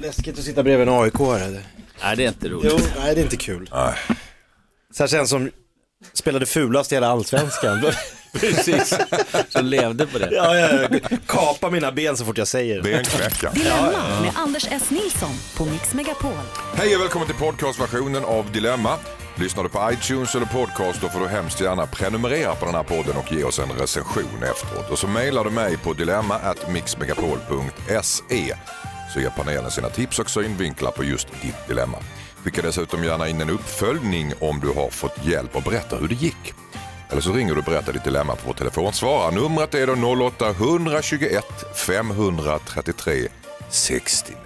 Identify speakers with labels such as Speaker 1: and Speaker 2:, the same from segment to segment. Speaker 1: Läskigt att sitta bredvid en aik -are.
Speaker 2: Nej, det är inte roligt.
Speaker 1: Jo, nej det är inte kul. Särskilt en som spelade fulast i hela allsvenskan.
Speaker 2: Precis. Så levde på det.
Speaker 1: ja, ja, ja. Kapa mina ben så fort jag säger
Speaker 3: Det är en kräka.
Speaker 4: Dilemma med Anders S. Nilsson på Mix Megapol.
Speaker 3: Hej och välkommen till podcastversionen av Dilemma. Lyssnar du på iTunes eller podcast då får du hemskt gärna prenumerera på den här podden och ge oss en recension efteråt. Och så mejlar du mig på dilemma.mixmegapol.se så ger panelen sina tips och synvinklar på just ditt dilemma. Skicka dessutom gärna in en uppföljning om du har fått hjälp och berätta hur det gick. Eller så ringer du och berättar ditt dilemma på vår telefonsvarare. Numret är då 08 121 533 69.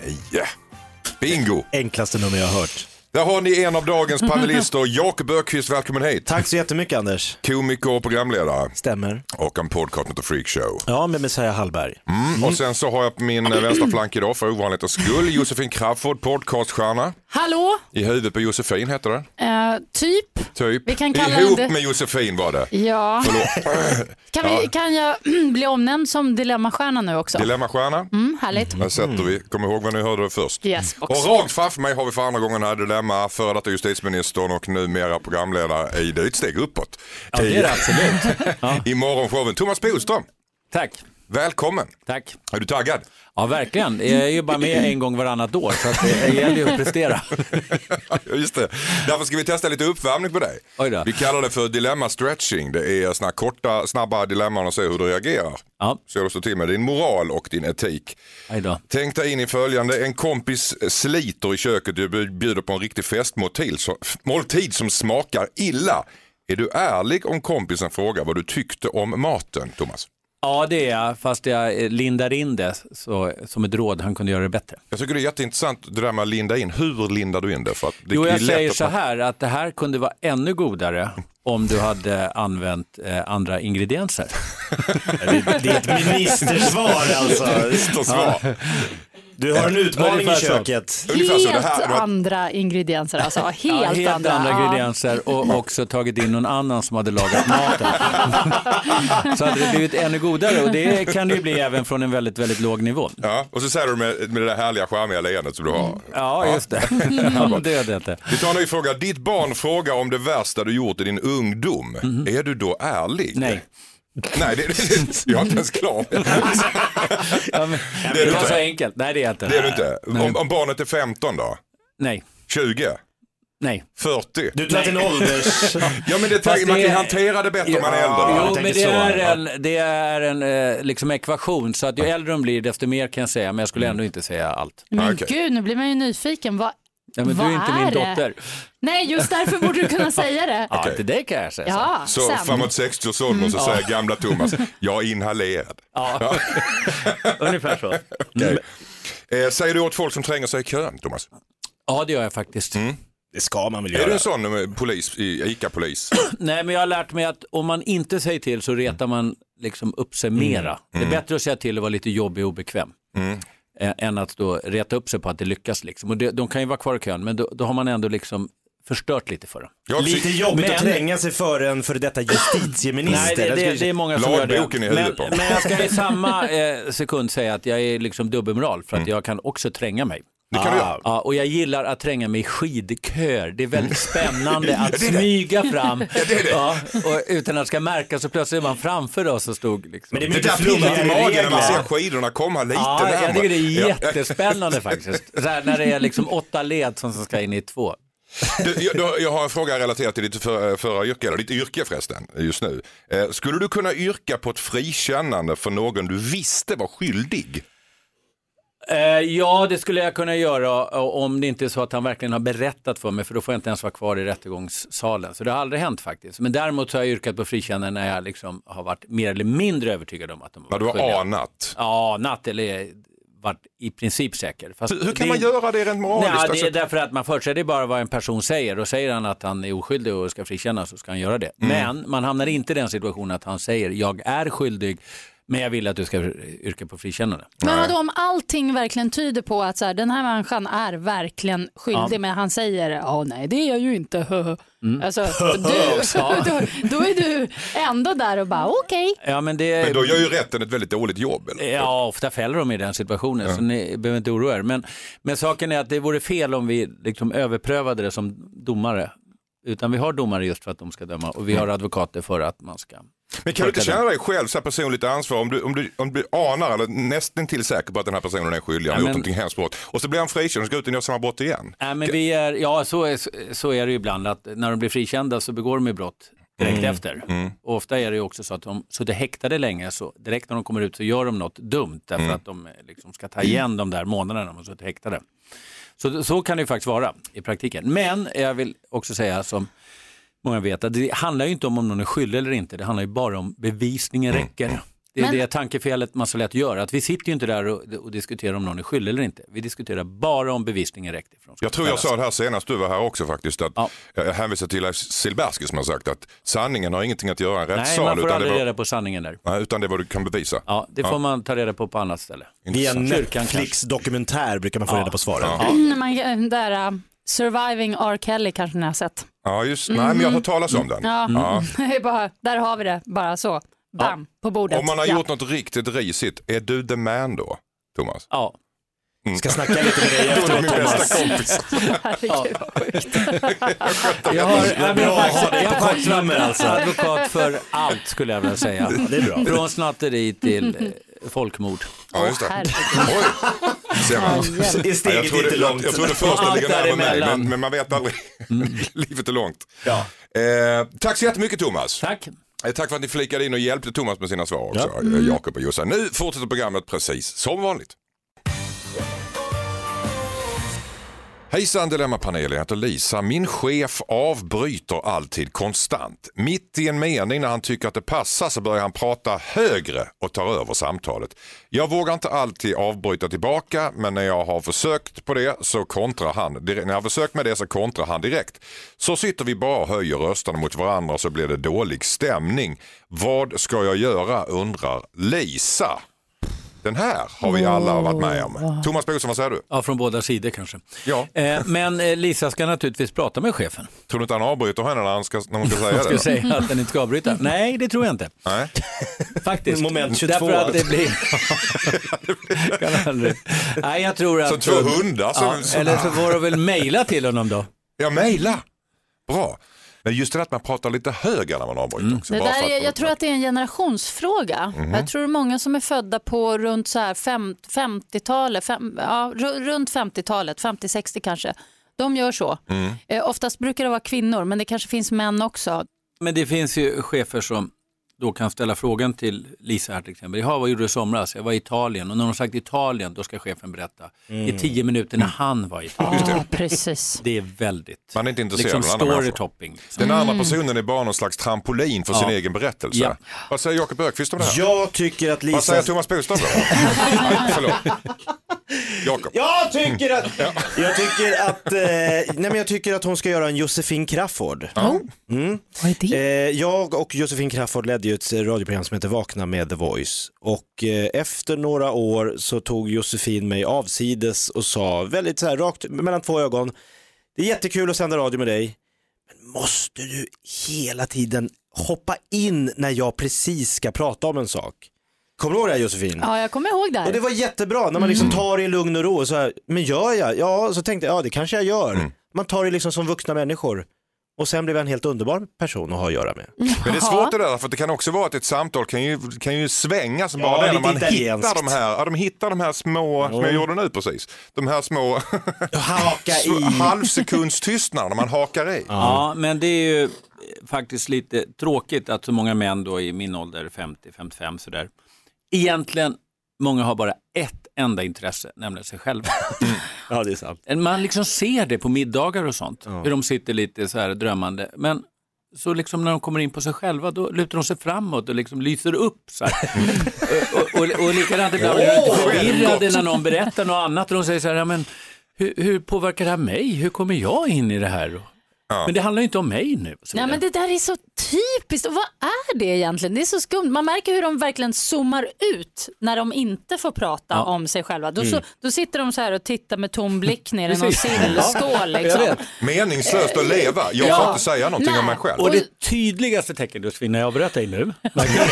Speaker 3: Bingo!
Speaker 1: enklaste nummer jag har hört.
Speaker 3: Där har ni en av dagens panelister, Jakob Ökvist, välkommen hit.
Speaker 1: Tack så jättemycket Anders.
Speaker 3: Komiker och programledare
Speaker 1: Stämmer.
Speaker 3: och en podcast som heter Freak Show.
Speaker 1: Ja, med Messiah Hallberg.
Speaker 3: Mm. Och sen så har jag på min eh,
Speaker 5: Mm.
Speaker 3: vänstra flank idag för ovanlighetens skull Josefin Crafoord, podcaststjärna.
Speaker 5: Hallå?
Speaker 3: I huvudet på Josefin heter det.
Speaker 5: Eh, typ?
Speaker 3: Typ.
Speaker 5: Vi kan kalla
Speaker 3: Ihop
Speaker 5: henne-
Speaker 3: med Josefin var det.
Speaker 5: Ja.
Speaker 3: Förlåt.
Speaker 5: Kan, vi, kan jag bli omnämnd som dilemmastjärna nu också?
Speaker 3: Dilemmastjärna.
Speaker 5: Mm, härligt.
Speaker 3: Där sätter vi. Kom ihåg vad ni hörde det först.
Speaker 5: Yes, box.
Speaker 3: Och rakt framför mig har vi för andra gången här Dilemma, före detta justitieministern och numera programledare i Det är ett steg uppåt.
Speaker 2: Ja, det är det absolut.
Speaker 3: I morgonshowen, Thomas Bodström.
Speaker 2: Tack.
Speaker 3: Välkommen!
Speaker 2: Tack.
Speaker 3: Är du taggad?
Speaker 2: Ja, verkligen. Jag är ju bara med en gång varannat år, så att det gäller ju att prestera.
Speaker 3: Just det. Därför ska vi testa lite uppvärmning på dig.
Speaker 2: Oj då.
Speaker 3: Vi kallar det för dilemma stretching. Det är såna här korta, snabba dilemman och se hur du reagerar.
Speaker 2: Ja,
Speaker 3: Så du står till med din moral och din etik.
Speaker 2: aj då.
Speaker 3: Tänk dig in i följande. En kompis sliter i köket och bjuder på en riktig festmåltid så- måltid som smakar illa. Är du ärlig om kompisen frågar vad du tyckte om maten, Thomas?
Speaker 2: Ja, det är jag, fast jag eh, lindar in det så, som ett råd. Han kunde göra det bättre.
Speaker 3: Jag tycker det är jätteintressant det där med att linda in. Hur lindar du in det? För att det
Speaker 2: Jo,
Speaker 3: är
Speaker 2: jag
Speaker 3: lätt
Speaker 2: säger
Speaker 3: att-
Speaker 2: så här att det här kunde vara ännu godare om du hade använt eh, andra ingredienser.
Speaker 1: Det är ett ministersvar alltså.
Speaker 3: Ministersvar. svar.
Speaker 1: Du har en utmaning i
Speaker 2: Ungefär så.
Speaker 1: köket.
Speaker 3: Ungefär
Speaker 5: Helt
Speaker 3: så. Det här, det var-
Speaker 5: andra ingredienser alltså. Helt,
Speaker 2: Ja, helt andra,
Speaker 5: Ja.
Speaker 2: ingredienser och också tagit in någon annan som hade lagat maten. så hade det blivit ännu godare och det kan det ju bli även från en väldigt, väldigt låg nivå.
Speaker 3: Ja, och så säger du med, med det där härliga charmiga leendet som du har.
Speaker 2: Ja, just det. Ja, det är det inte.
Speaker 3: Vi tar en ny fråga. Ditt barn frågar om det värsta du gjort i din ungdom. Är du då ärlig?
Speaker 2: Mm-hmm. Nej.
Speaker 3: Nej, det, det, jag är inte ens klar.
Speaker 2: Ja, men,
Speaker 3: det
Speaker 2: det
Speaker 3: är du
Speaker 2: var
Speaker 3: inte.
Speaker 2: så enkelt. Nej, det är jag inte.
Speaker 3: Det är du inte. Om, om barnet är 15 då?
Speaker 2: Nej,
Speaker 3: 20?
Speaker 2: nej.
Speaker 3: 40?
Speaker 1: Du tror att det är en ålders...
Speaker 3: Ja, men det,
Speaker 2: Fast
Speaker 3: man
Speaker 2: det
Speaker 3: kan
Speaker 2: är-
Speaker 3: hantera det bättre om man är äldre.
Speaker 1: Ja.
Speaker 3: va?
Speaker 2: Jo,
Speaker 1: tänker
Speaker 2: men det
Speaker 1: så,
Speaker 2: är
Speaker 1: ja.
Speaker 2: en, det är en eh, liksom ekvation, så att ju äldre de blir, desto mer kan jag säga, men jag skulle ändå inte säga allt.
Speaker 5: Men
Speaker 3: Ah, Okej.
Speaker 5: gud, nu blir man ju nyfiken. Vad-
Speaker 2: Ja, men
Speaker 5: Vad
Speaker 2: du är inte min
Speaker 5: är det?
Speaker 2: dotter.
Speaker 5: Nej, just därför borde du kunna säga det.
Speaker 2: Ja, inte det kan jag säga. så.
Speaker 5: Ja,
Speaker 3: Så
Speaker 5: sen.
Speaker 3: framåt 60-årsåldern så säger gamla Thomas, jag är inhalerad.
Speaker 2: Mm. Ja. Ungefär så.
Speaker 3: Okej. Eh, säger du åt folk som tränger sig i kön, Thomas?
Speaker 2: Ja, det gör jag faktiskt.
Speaker 1: Det ska man väl
Speaker 3: Är du
Speaker 1: göra.
Speaker 3: en sån eh, polis, i- ICA-polis?
Speaker 2: Nej, men jag har lärt mig att om man inte säger till så retar man liksom upp sig
Speaker 3: Mm.
Speaker 2: mera. Det är bättre att säga till och vara lite jobbig och obekväm. Eh, Än att då reta upp sig på att det lyckas. Liksom. Och det, de kan ju vara kvar i kön, men då, då har man ändå liksom förstört lite för dem.
Speaker 3: Jag har
Speaker 1: Lite
Speaker 3: precis-
Speaker 1: jobbigt att
Speaker 2: Men-
Speaker 1: tränga sig före en före detta justitieminister.
Speaker 2: Nej, det,
Speaker 1: Den ska ju-
Speaker 2: det, det är många som gör det.
Speaker 3: Lagboken i huvudet
Speaker 2: Men,
Speaker 3: på dem.
Speaker 2: men jag ska i samma eh, sekund säga att jag är liksom dubbelmoral för att
Speaker 3: Mm.
Speaker 2: jag kan också tränga mig.
Speaker 3: Det kan du göra.
Speaker 2: Ja, och jag gillar att tränga mig i skidköer. Det är väldigt spännande att smyga fram. Ja, och utan att det ska märkas så plötsligt är man framför oss och stod liksom.
Speaker 1: Men det är
Speaker 3: Det där
Speaker 1: mycket
Speaker 3: pirret i magen när man ser
Speaker 1: flummigare
Speaker 3: skidorna komma lite
Speaker 2: Ja,
Speaker 3: närmare.
Speaker 2: jag tycker det är
Speaker 3: Ja. eh,
Speaker 2: jättespännande faktiskt. Så här, när det är liksom åtta led som som ska in i två.
Speaker 3: Du, jag, du- jag har en fråga relaterat till ditt för, förra yrke, eller ditt yrke förresten, just nu. Eh, skulle du kunna yrka på ett frikännande för någon du visste var skyldig?
Speaker 2: Eh, ja, det skulle jag kunna göra eh, om det inte är så att han verkligen har berättat för mig, för då får jag inte ens vara kvar i rättegångssalen. Så det har aldrig hänt faktiskt. Men däremot så har jag yrkat på frikännande när jag liksom har varit mer eller mindre övertygad om att de
Speaker 3: När
Speaker 2: var
Speaker 3: du har anat?
Speaker 2: Ja, natt eller varit i princip säker. Fast
Speaker 3: Hur kan
Speaker 2: det-
Speaker 3: man göra det rent moraliskt?
Speaker 2: Nej, det
Speaker 3: Alltså,
Speaker 2: är därför att man förutsätter bara vad en person säger och säger han att han är oskyldig och
Speaker 3: Mm.
Speaker 2: ska frikännas så ska han göra det. Men man hamnar inte i den situationen att han säger jag är skyldig Men jag vill att du ska yrka på frikännande.
Speaker 5: Men vadå om allting verkligen tyder på att så här, den här människan är verkligen skyldig men han säger ja nej det är jag ju inte.
Speaker 2: Mm.
Speaker 5: Alltså, du, då, då är du ändå där och bara okej.
Speaker 2: Ja, men det...
Speaker 3: Men då gör ju rätten ett väldigt dåligt jobb. Eller?
Speaker 2: Ja, ofta fäller de i den situationen, så ni behöver inte oroa er. Men, men saken är att det vore fel om vi liksom överprövade det som domare. Utan vi har domare just för att de ska döma och vi
Speaker 3: Mm.
Speaker 2: har advokater för att man ska...
Speaker 3: Men kan du inte
Speaker 2: Tolka
Speaker 3: känna dig själv så här personligt ansvar om du, om, du, om du anar eller nästan till säker på att den här personen är skyldig, han har
Speaker 2: Ja,
Speaker 3: gjort
Speaker 2: men-
Speaker 3: någonting hemskt brott och så blir han frikänd och ska ut och göra samma brott igen.
Speaker 2: Nej, men vi är, ja, så är, så är det ju ibland att när de blir frikända så begår de ju brott direkt
Speaker 3: Mm.
Speaker 2: efter. Och ofta är det ju också så att de suttit häktade länge så direkt när de kommer ut så gör de något dumt därför
Speaker 3: Mm.
Speaker 2: att de eh, liksom ska ta igen de där månaderna de har suttit häktade. Så, så kan det ju faktiskt vara i praktiken. Men jag vill också säga som många vet att det handlar ju inte om om någon är skyldig eller inte. Det handlar ju bara om bevisningen
Speaker 3: Mm.
Speaker 2: räcker. Det är
Speaker 5: Men-
Speaker 2: det tankefelet man så lätt gör. Att vi sitter ju inte där och, och diskuterar om någon är skyldig eller inte. Vi diskuterar bara om bevisningen räcker. Från
Speaker 3: Jag tror jag sa det här senast du var här också faktiskt, att
Speaker 2: Ja.
Speaker 3: jag hänvisar till Leif Silbersky som har sagt att sanningen har ingenting att göra i en
Speaker 2: Nej,
Speaker 3: rättssal
Speaker 2: man får
Speaker 3: utan, det
Speaker 2: aldrig
Speaker 3: var,
Speaker 2: reda på sanningen där.
Speaker 3: Nej, utan det är vad du kan bevisa.
Speaker 2: Ja, det får man ta reda på på annat ställe.
Speaker 1: Via
Speaker 3: Intressant.
Speaker 2: Kyrkan
Speaker 1: Netflix-dokumentär brukar man få reda på svaren.
Speaker 5: Man, där, äh, surviving R. Kelly kanske ni har sett.
Speaker 3: Ja, just, nej,
Speaker 2: Mhm.
Speaker 3: men jag har hört talas om den.
Speaker 5: Ja. bara, där har vi det, bara så. Bam, på bordet.
Speaker 3: Om man har
Speaker 5: Ja.
Speaker 3: gjort något riktigt risigt, är du the man då, Thomas?
Speaker 2: Ja,
Speaker 1: Ska snacka lite med dig efteråt Thomas.
Speaker 3: kompis.
Speaker 5: Herregud, vad sjukt.
Speaker 2: jag har, jag
Speaker 1: är bra att ha det på kortnummer, alltså.
Speaker 2: advokat för allt skulle jag vilja säga.
Speaker 1: Det är bra.
Speaker 2: Från snatteri till
Speaker 3: Mm.
Speaker 2: eh, folkmord.
Speaker 3: Ja, just det.
Speaker 5: Herregud.
Speaker 3: Oj, ser man.
Speaker 1: Är
Speaker 3: Ja, jag
Speaker 1: steget
Speaker 3: trodde,
Speaker 1: inte
Speaker 3: jag,
Speaker 1: långt? Mm.
Speaker 3: jag trodde först att det ligger
Speaker 2: Allt
Speaker 3: nära mig,
Speaker 2: däremellan.
Speaker 3: men, men man vet aldrig. Livet är långt.
Speaker 1: Ja.
Speaker 3: Eh, tack så jättemycket Thomas.
Speaker 2: Tack.
Speaker 3: Eh, Tack för att ni flikade in och hjälpte Thomas med sina svar också, eh,
Speaker 1: Mm.
Speaker 3: Jakob och Jossan. Nu fortsätter programmet precis som vanligt. Hejsan Dilemmapanelen, jag heter Lisa. Min chef avbryter alltid konstant. Mitt i en mening när han tycker att det passar så börjar han prata högre och tar över samtalet. Jag vågar inte alltid avbryta tillbaka men när jag har försökt på det så kontrar han. dire- När jag har försökt med det så kontrar han direkt. Så sitter vi bara och höjer rösterna mot varandra så blir det dålig stämning. Vad ska jag göra undrar Lisa. Den här har vi alla varit med om. Thomas Bodström, vad säger du?
Speaker 2: Ja, från båda sidor kanske.
Speaker 3: Ja.
Speaker 2: Eh, men eh, Lisa ska naturligtvis prata med chefen.
Speaker 3: Tror du inte han avbryter henne när, han ska, när hon ska säga
Speaker 2: Ska
Speaker 3: det?
Speaker 2: jag säga att den inte ska avbryta? Nej, det tror jag inte.
Speaker 3: Nej.
Speaker 2: Faktiskt.
Speaker 1: Moment 22.
Speaker 2: Därför att det blir... kan aldrig. Nej, jag tror att...
Speaker 3: Som två hundar som-
Speaker 2: Ja,
Speaker 3: som-
Speaker 2: eller så får du väl mejla till honom då.
Speaker 3: Ja, mejla. Bra. Men just det att man pratar lite högre när man avbryter
Speaker 2: Mm.
Speaker 3: också.
Speaker 5: Det
Speaker 3: bara för
Speaker 5: där är,
Speaker 3: att- Mhm.
Speaker 5: jag tror att det är en generationsfråga. Jag tror det är många som är födda på runt så här fem- 50-talet, fem, ja, ru- runt 50-talet, 50-60 kanske. De gör så.
Speaker 3: Mm.
Speaker 5: Eh, oftast brukar det vara kvinnor, men det kanske finns män också.
Speaker 2: Men det finns ju chefer som då kan ställa frågan till Lisa här till exempel. Jaha, vad gjorde du i somras? Jag var i Italien. Och när hon har sagt Italien, då ska chefen berätta.
Speaker 3: Mm.
Speaker 2: I tio minuter när han var i Italien.
Speaker 5: Ja, precis.
Speaker 2: Det är väldigt...
Speaker 3: Man är inte intresserad
Speaker 2: Liksom
Speaker 3: av andra
Speaker 2: story
Speaker 3: människor.
Speaker 2: topping. Liksom.
Speaker 3: Den
Speaker 5: Mm.
Speaker 3: andra personen är bara någon slags trampolin för sin egen berättelse.
Speaker 2: Ja.
Speaker 3: Vad säger Jakob Ökvist om det här?
Speaker 1: Jag tycker att
Speaker 3: Vad
Speaker 1: Lisa...
Speaker 3: säger Thomas Bodström? då? Nej, Förlåt. Jakob.
Speaker 1: Jag tycker att... Jag tycker att... Eh, nej men jag tycker att hon ska göra en Josefin Crafoord.
Speaker 5: Vad är det?
Speaker 1: Eh, jag och Josefin Crafoord ledde ju ett radioprogram som heter Vakna med The Voice. Och eh, efter några år så tog Josefin mig avsides och sa väldigt så här rakt mellan två ögon. Det är jättekul att sända radio med dig. Men måste du hela tiden hoppa in när jag precis ska prata om en sak? Kommer du ihåg det här Josefin?
Speaker 5: Ja, jag kommer ihåg det
Speaker 1: Och det
Speaker 5: här.
Speaker 1: var jättebra när man liksom tar det i lugn och ro. Och så här, men gör jag? Ja, så tänkte jag, ja det kanske jag gör. Man tar det liksom som vuxna människor. Och sen blev jag en helt underbar person att ha att göra med.
Speaker 3: Men det är svårt det där, för det kan också vara att ett samtal kan ju, kan ju svänga som
Speaker 1: Ja,
Speaker 3: bara det när
Speaker 1: lite
Speaker 3: man
Speaker 1: italienskt.
Speaker 3: hittar de här, ja, de hittar de här små, som jag gjorde nu precis, de här små
Speaker 1: Haka
Speaker 3: halvsekundstystnaderna man hakar i.
Speaker 2: Ja, men det är ju eh, faktiskt lite tråkigt att så många män då i min ålder, 50-55 sådär, egentligen många har bara ett enda intresse, nämligen sig själva.
Speaker 1: Ja, det är sant.
Speaker 2: Man liksom ser det på middagar och sånt, hur de sitter lite så här drömmande. Men så liksom när de kommer in på sig själva, då lutar de sig framåt och liksom lyser upp. Så här. och, och, och likadant ibland blir de lite förvirrade när någon berättar något annat och de säger så här, "Ja, men hur, hur påverkar det här mig? Hur kommer jag in i det här? Men det handlar ju inte om mig nu. och så
Speaker 5: Nej,
Speaker 2: vidare.
Speaker 5: men det där är så typiskt. Och vad är det egentligen? Det är så skumt. Man märker hur de verkligen zoomar ut när de inte får prata
Speaker 2: Ja. Mm.
Speaker 5: om sig själva. Då, så, då sitter de så här och tittar med tom blick ner i någon
Speaker 2: Precis.
Speaker 5: sillskål. Liksom.
Speaker 2: vet.
Speaker 3: Meningslöst att leva. Jag får
Speaker 2: Ja.
Speaker 3: inte säga någonting om mig
Speaker 5: Nej.
Speaker 3: själv.
Speaker 2: Och det tydligaste tecknet, Josefin, när jag avbröt dig nu. verkligen.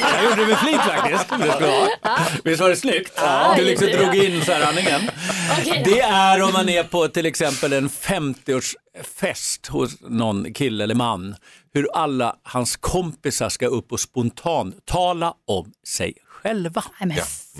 Speaker 2: Jag gjorde det med flit faktiskt. om Det ska vara. Visst var det snyggt? Du liksom
Speaker 5: det är bra.
Speaker 2: drog in så här andningen.
Speaker 5: Okej.
Speaker 2: Det är om man är på till exempel en 50-årsfest hos någon kille eller man. Hur alla hans kompisar ska upp och spontant tala om sig själva.
Speaker 5: Nej, men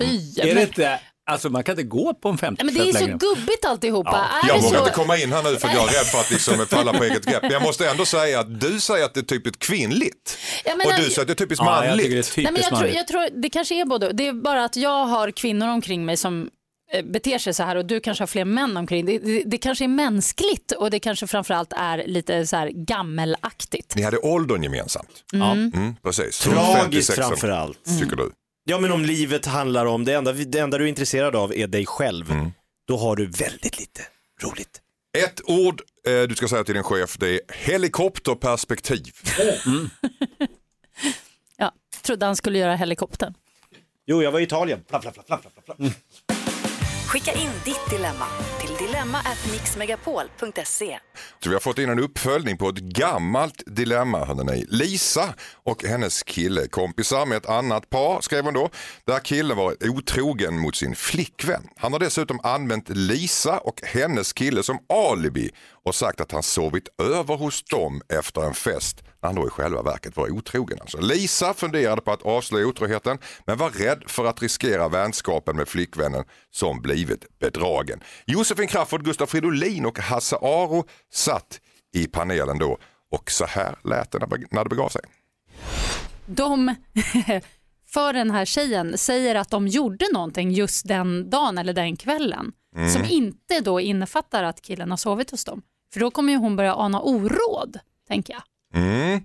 Speaker 5: fy.
Speaker 2: Är
Speaker 5: Men,
Speaker 2: det inte, alltså man kan inte gå på en
Speaker 5: Nej,
Speaker 2: 50
Speaker 5: men det är så gubbigt alltihopa. Är
Speaker 3: Jag
Speaker 5: det
Speaker 3: vågar
Speaker 5: så...
Speaker 3: inte komma in här nu för jag är rädd för att liksom falla på eget grepp. Men jag måste ändå säga att du säger att det är typiskt kvinnligt.
Speaker 5: Ja, men
Speaker 3: och
Speaker 5: jag-
Speaker 3: du säger att det är typiskt
Speaker 2: Ja, jag tycker det är
Speaker 3: manligt.
Speaker 5: Nej, men jag,
Speaker 2: typiskt
Speaker 5: tror,
Speaker 2: manligt.
Speaker 5: jag tror, det kanske är både Det är bara att jag har kvinnor omkring mig som eh, beter sig så här och du kanske har fler män omkring dig. Det, det, det kanske är mänskligt och det kanske framförallt är lite så här gammelaktigt.
Speaker 3: Ni hade åldern gemensamt.
Speaker 2: Ja.
Speaker 3: Mm, precis.
Speaker 1: Tragiskt
Speaker 3: 56.
Speaker 1: framförallt.
Speaker 3: Tycker du?
Speaker 1: Ja men om livet handlar om, det enda, det enda du är intresserad av är dig själv, då har du väldigt lite roligt.
Speaker 3: Ett ord eh, du ska säga till din chef det är helikopterperspektiv.
Speaker 5: Ja, trodde han skulle göra helikoptern.
Speaker 1: Jo, jag var i Italien. Flapp, flapp, flapp, flapp, flapp, flapp.
Speaker 4: Skicka in ditt dilemma till dilemma@mixmegapol.se.
Speaker 3: Så vi har fått in en uppföljning på ett gammalt dilemma. hörde ni. Lisa och hennes kille kompisar med ett annat par skrev hon då. Där killen var otrogen mot sin flickvän. Han har dessutom använt Lisa och hennes kille som alibi och sagt att han sovit över hos dem efter en fest när han då i själva verket var otrogen. Alltså. Lisa funderade på att avslöja otroheten men var rädd för att riskera vänskapen med flickvännen som blivit bedragen. Josefin Crafoord, Gustaf Fridolin och Hasse Aro satt i panelen då och så här lät det när be- när det begav sig.
Speaker 5: De, för den här tjejen, säger att de gjorde någonting just den dagen eller den kvällen
Speaker 3: Mm.
Speaker 5: som inte då innefattar att killen har sovit hos dem. För då kommer ju hon börja ana oråd, tänker jag.
Speaker 3: Mm.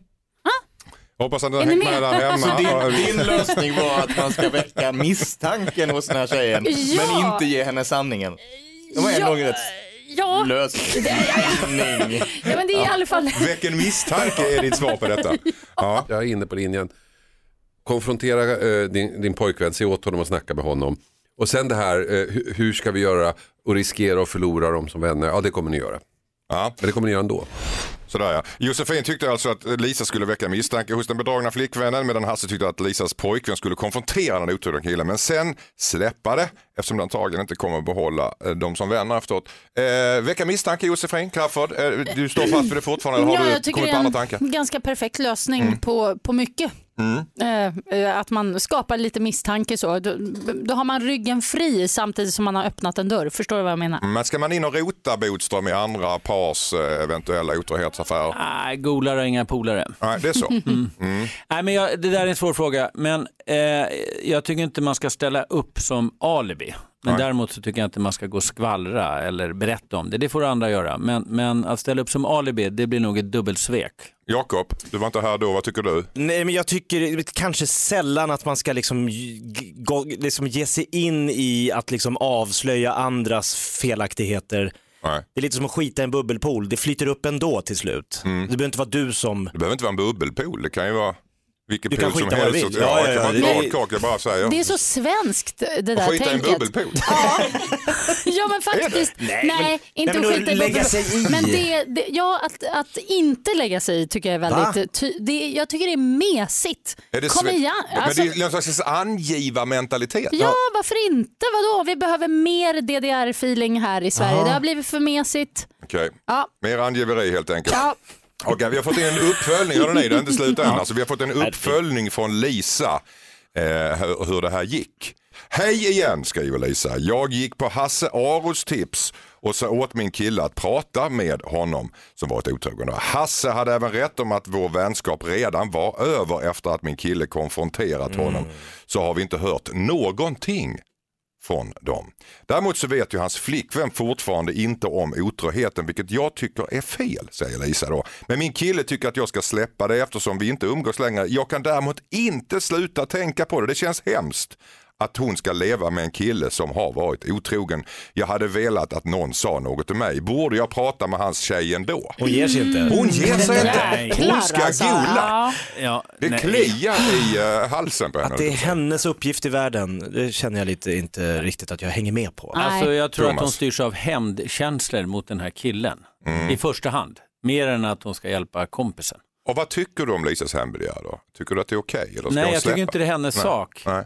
Speaker 3: Hoppas att ni
Speaker 5: Är
Speaker 3: har
Speaker 5: ni
Speaker 3: hängt
Speaker 5: med?
Speaker 3: med där hemma.
Speaker 6: Din lösning var att man ska väcka misstanken hos den här tjejen,
Speaker 5: Ja.
Speaker 6: men inte ge henne sanningen. Det var
Speaker 5: Ja.
Speaker 6: ändå en rätt
Speaker 5: Ja,
Speaker 6: lösning.
Speaker 5: ja men det är i alla fall...
Speaker 3: Väck en misstanke är ditt svar på detta. Ja.
Speaker 7: Jag är inne på linjen. Konfrontera eh, din, din pojkvän, se åt honom och snacka med honom. Och sen det här, eh, hu- hur ska vi göra och riskera att förlora dem som vänner? Ja, det kommer ni göra.
Speaker 3: Ja.
Speaker 7: Men det kommer ni göra ändå.
Speaker 3: Sådär ja. Josefin tyckte alltså att Lisa skulle väcka misstanke hos den bedragna flickvännen medan Hasse tyckte att Lisas pojkvän skulle konfrontera den otrogna killen men sen släppa det eftersom den antagligen inte kommer att behålla eh, dem som vänner efteråt. Eh, väcka misstanke Josefin Crafoord, eh, du står fast vid det fortfarande eller har
Speaker 5: Ja, jag
Speaker 3: du
Speaker 5: tycker
Speaker 3: kommit
Speaker 5: det
Speaker 3: på
Speaker 5: är
Speaker 3: andra
Speaker 5: en
Speaker 3: tankar? Mm.
Speaker 5: ganska perfekt lösning på, på mycket. Eh, eh, att man skapar lite misstanke så. Då, då har man ryggen fri samtidigt som man har öppnat en dörr. Förstår du vad jag menar?
Speaker 3: Men ska man in och rota Bodström i andra pars eh, eventuella otrohetsaffärer?
Speaker 2: Nej, golare är inga polare.
Speaker 3: Nej, det är så.
Speaker 2: Nej, men jag, det där är en svår fråga, men eh, jag tycker inte man ska ställa upp som alibi. Men däremot så tycker jag inte man ska gå och skvallra eller berätta om det. Det får andra göra. Men, men att ställa upp som alibi, det blir nog ett dubbelsvek.
Speaker 3: Jakob, du var inte här då, vad tycker du?
Speaker 1: Nej, men jag tycker kanske sällan att man ska liksom, g- gå, liksom ge sig in i att liksom avslöja andras felaktigheter.
Speaker 3: Nej.
Speaker 1: Det är lite som att skita i en bubbelpool, det flyter upp ändå till slut. Det behöver inte vara du som...
Speaker 3: Det behöver inte vara en bubbelpool, det kan ju vara vilken
Speaker 1: Du kan
Speaker 3: pool som
Speaker 1: skita var du
Speaker 3: helst.
Speaker 1: vill.
Speaker 3: Ja,
Speaker 1: Ja,
Speaker 3: det
Speaker 1: ja,
Speaker 3: kan vara
Speaker 1: ja,
Speaker 3: ett
Speaker 1: det-
Speaker 3: badkak, jag bara säger.
Speaker 5: Det är så svenskt det där
Speaker 3: Skita i en
Speaker 5: tänket.
Speaker 3: bubbelpool.
Speaker 5: Ja men faktiskt. Nej, inte
Speaker 1: men
Speaker 5: att
Speaker 1: då
Speaker 5: skita i
Speaker 1: lägga
Speaker 5: bubbel.
Speaker 1: sig i.
Speaker 5: Men det, det, ja, att, att inte lägga sig i tycker jag är väldigt... Ty, det, jag tycker det är mesigt.
Speaker 3: Är det
Speaker 5: Kom
Speaker 3: sve-
Speaker 5: igen. Alltså,
Speaker 3: Men det är någon slags angivarmentalitet.
Speaker 5: Ja, varför inte? Vadå? Vi behöver mer DDR-feeling här i Sverige. Det har blivit för mesigt.
Speaker 3: Okej,
Speaker 5: Ja.
Speaker 3: mer angiveri helt enkelt.
Speaker 5: Ja.
Speaker 3: Okej, vi har fått in en uppföljning, hörde ni, det är inte slut än. Alltså, vi har fått en uppföljning från Lisa eh, hur, hur det här gick. Hej igen, skriver Lisa. Jag gick på Hasse Aros tips och sa åt min kille att prata med honom som varit otrogen. Hasse hade även rätt om att vår vänskap redan var över efter att min kille konfronterat honom. Så har vi inte hört någonting från dem. Däremot så vet ju hans flickvän fortfarande inte om otroheten vilket jag tycker är fel, säger Lisa då. Men min kille tycker att jag ska släppa det eftersom vi inte umgås längre. Jag kan däremot inte sluta tänka på det, det känns hemskt. att hon ska leva med en kille som har varit otrogen. Jag hade velat att någon sa något till mig. Borde jag prata med hans tjej ändå?
Speaker 1: Hon ger sig inte.
Speaker 3: Hon
Speaker 2: Mm.
Speaker 3: ger sig
Speaker 5: Nej.
Speaker 3: inte. Hon ska
Speaker 5: Jäklar, alltså.
Speaker 3: gula.
Speaker 5: Ja.
Speaker 2: Ja,
Speaker 3: Det
Speaker 2: nej.
Speaker 3: kliar i eh, halsen på henne.
Speaker 1: Att det är hennes uppgift i världen, det känner jag lite inte riktigt att jag hänger med på.
Speaker 5: Nej.
Speaker 2: Alltså jag tror att hon
Speaker 3: Thomas. Mm.
Speaker 2: styrs av hämndkänslor mot den här killen i första hand. Mer än att hon ska hjälpa kompisen.
Speaker 3: Och vad tycker du om Lisas hembegär då? Tycker du att det är okej? eller ska
Speaker 2: Nej,
Speaker 3: hon
Speaker 2: jag tycker
Speaker 3: släppa?
Speaker 2: inte det är hennes
Speaker 3: Nej.
Speaker 2: sak.
Speaker 3: Nej.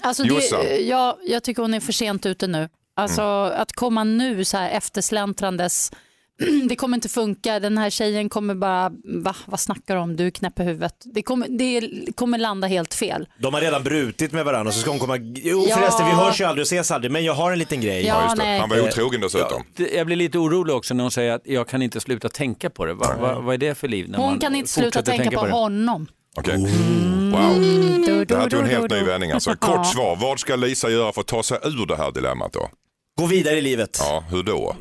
Speaker 5: Alltså
Speaker 3: Jossan.
Speaker 5: det, jag, jag tycker hon är för sent ute nu. Alltså att komma nu så här efterslentrandes, det kommer inte funka, den här tjejen kommer bara, va, vad snackar du om, du är knäpp i huvudet. Det kommer, det kommer landa helt fel.
Speaker 1: De har redan brutit med varandra och så ska hon komma, jo
Speaker 5: Ja.
Speaker 1: förresten vi hörs ju aldrig och ses aldrig men jag har en liten grej.
Speaker 5: Ja.
Speaker 3: Ja, just det.
Speaker 5: nej.
Speaker 3: Han var otrogen dessutom.
Speaker 2: Det- Jag blir lite orolig också när hon säger att jag kan inte sluta tänka på det. Va, va, vad är det för liv? När
Speaker 5: Hon
Speaker 2: man
Speaker 5: kan inte sluta
Speaker 2: fortsätter
Speaker 5: tänka, på,
Speaker 2: det?
Speaker 5: honom.
Speaker 3: Okej.
Speaker 2: Mm.
Speaker 3: Wow.
Speaker 5: Du,
Speaker 3: Det här
Speaker 5: du,
Speaker 3: tog en
Speaker 5: du,
Speaker 3: helt
Speaker 5: du,
Speaker 3: ny
Speaker 5: du.
Speaker 3: vändning. Alltså.
Speaker 5: Ja.
Speaker 3: Kort svar, vad ska Lisa göra för att ta sig ur det här dilemmat då?
Speaker 1: Gå vidare i livet,
Speaker 3: Ja, hur då?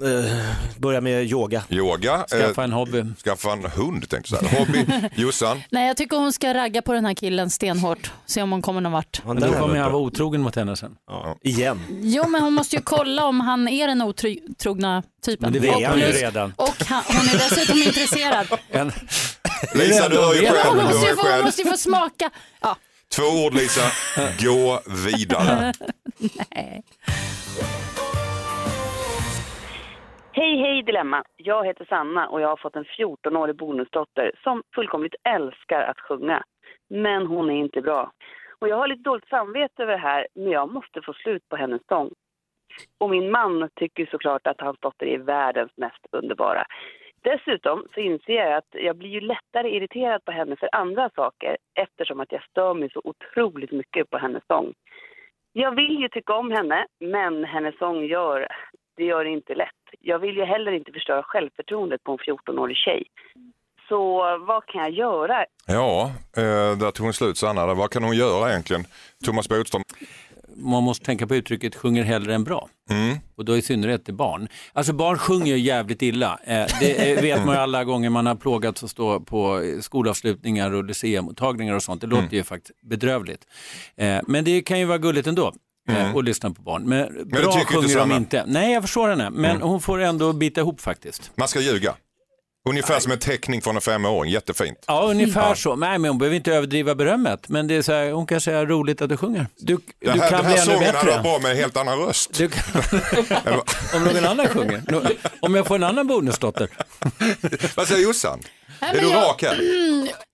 Speaker 1: börja med yoga.
Speaker 3: Yoga?
Speaker 2: Eh, Skaffa
Speaker 3: eh,
Speaker 2: en hobby.
Speaker 3: skaffa en hund tänkte jag säga. Hobby? Jossan?
Speaker 5: Nej, jag tycker hon ska ragga på den här killen stenhårt, se om hon kommer någon vart.
Speaker 1: Ja,
Speaker 2: Men
Speaker 1: där
Speaker 2: då kommer
Speaker 1: uppe.
Speaker 2: jag vara otrogen mot henne sen.
Speaker 1: Ja. Igen.
Speaker 5: Jo, men hon måste ju kolla om han är den otrogna typen.
Speaker 2: Men det
Speaker 1: vet
Speaker 5: Och
Speaker 1: han ju
Speaker 5: plus-
Speaker 2: redan.
Speaker 5: Och han, hon är dessutom intresserad.
Speaker 2: En,
Speaker 3: Lisa, du hör ju
Speaker 2: Ja,
Speaker 3: själv.
Speaker 5: Hon
Speaker 3: Du
Speaker 5: måste
Speaker 3: hör ju
Speaker 5: ju få, hon
Speaker 3: själv.
Speaker 5: måste ju få smaka. Ja.
Speaker 3: Två ord Lisa, gå vidare.
Speaker 8: Hej, hej Dilemma! Jag heter Sanna och jag har fått en 14-årig bonusdotter som fullkomligt älskar att sjunga. Men hon är inte bra. Och jag har lite dåligt samvete över det här, men jag måste få slut på hennes sång. Och min man tycker såklart att hans dotter är världens mest underbara. Dessutom så inser jag att jag blir ju lättare irriterad på henne för andra saker eftersom att jag stör mig så otroligt mycket på hennes sång. Jag vill ju tycka om henne, men hennes sång gör det gör det inte lätt. Jag vill ju heller inte förstöra självförtroendet på en 14-årig tjej. Så vad kan jag göra?
Speaker 3: Ja, eh, där tog hon slut Sanna. Vad kan hon göra egentligen? Thomas Bodström?
Speaker 2: man måste tänka på uttrycket sjunger hellre än bra.
Speaker 3: Mm.
Speaker 2: Och då i synnerhet till barn. Alltså barn sjunger ju jävligt illa. Eh, Det eh, vet man ju alla gånger man har plågats att stå på eh, skolavslutningar och lyceummottagningar och sånt. Det
Speaker 3: Mm.
Speaker 2: låter ju faktiskt bedrövligt. Eh, Men det kan ju vara gulligt ändå. eh, Och lyssna på barn. Men,
Speaker 3: Mm. det
Speaker 2: bra
Speaker 3: tycker inte
Speaker 2: sjunger de
Speaker 3: Sanna. Mm.
Speaker 2: inte. Nej, jag förstår henne. Men hon får ändå bita ihop faktiskt.
Speaker 3: Man ska ljuga. Ungefär som en teckning från en femåring, jättefint.
Speaker 2: Ja, ungefär så. Nej, men hon behöver inte överdriva berömmet. Men det är så här, hon kan säga roligt att du sjunger. Du,
Speaker 3: Det
Speaker 2: du
Speaker 3: här,
Speaker 2: kan
Speaker 3: den här
Speaker 2: bli ännu
Speaker 3: sången hade varit
Speaker 2: bättre.
Speaker 3: bra med en helt annan röst.
Speaker 2: Du kan... Om någon annan sjunger. Nå- Om jag får en annan bonusdotter.
Speaker 3: Vad säger Jossan? Är
Speaker 5: men
Speaker 3: du
Speaker 5: jag-
Speaker 3: rak här?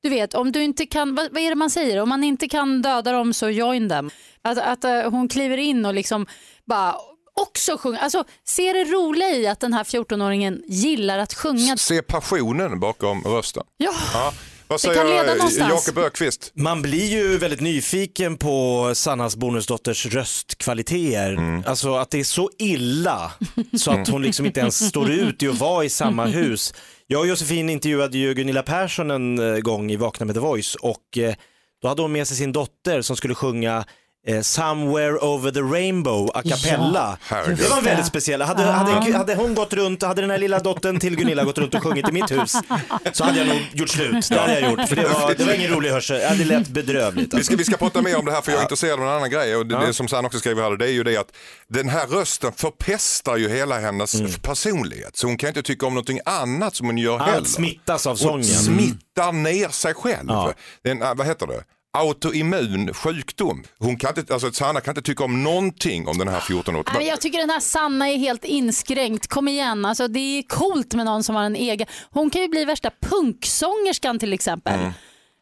Speaker 5: Du vet, om du inte kan, vad, vad är det man säger? Om man inte kan döda dem så join them. Att, att eh, hon kliver in och liksom bara också sjunger. Alltså, ser det roliga i att den här 14-åringen gillar att sjunga.
Speaker 3: Se passionen bakom rösten.
Speaker 5: Ja,
Speaker 3: Ja. Vad eh,
Speaker 5: Det kan leda någonstans.
Speaker 3: Jakob Ökvist?
Speaker 1: Man blir ju väldigt nyfiken på Sannas bonusdotters röstkvaliteter. Alltså att det är så illa så att hon liksom inte ens står ut i att vara i samma hus. Jag och Josefin intervjuade ju Gunilla Persson en eh, gång i Vakna med The Voice och eh, då hade hon med sig sin dotter som skulle sjunga eh, Somewhere over the rainbow a cappella.
Speaker 3: Herregud.
Speaker 1: det var en väldigt speciell. Hade, hade, hade hon gått runt, hade den här lilla dottern till Gunilla gått runt och sjungit i mitt hus så hade jag nog gjort slut. Det hade jag gjort. För det var, det var ingen rolig hörsel. Ja, det lät bedrövligt.
Speaker 3: Vi
Speaker 1: Alltså.
Speaker 3: ska, vi ska prata mer om det här för jag är intresserad av en annan grej. Och det, det som Sanna också skriver här det är ju det att den här rösten förpestar ju hela hennes personlighet. Så hon kan inte tycka om någonting annat som hon gör heller.
Speaker 1: Mm. Allt smittas av sången.
Speaker 3: Och smittar ner sig själv.
Speaker 1: Ja.
Speaker 3: Det är En, vad heter det? Autoimmun sjukdom. Hon kan inte, alltså Sanna kan inte tycka om någonting om den här 14-åringen.
Speaker 5: Nej, men jag tycker den här Sanna är helt inskränkt. Kom igen, alltså, det är coolt med någon som har en egen. Hon kan ju bli värsta punksångerskan till exempel.
Speaker 3: Mm.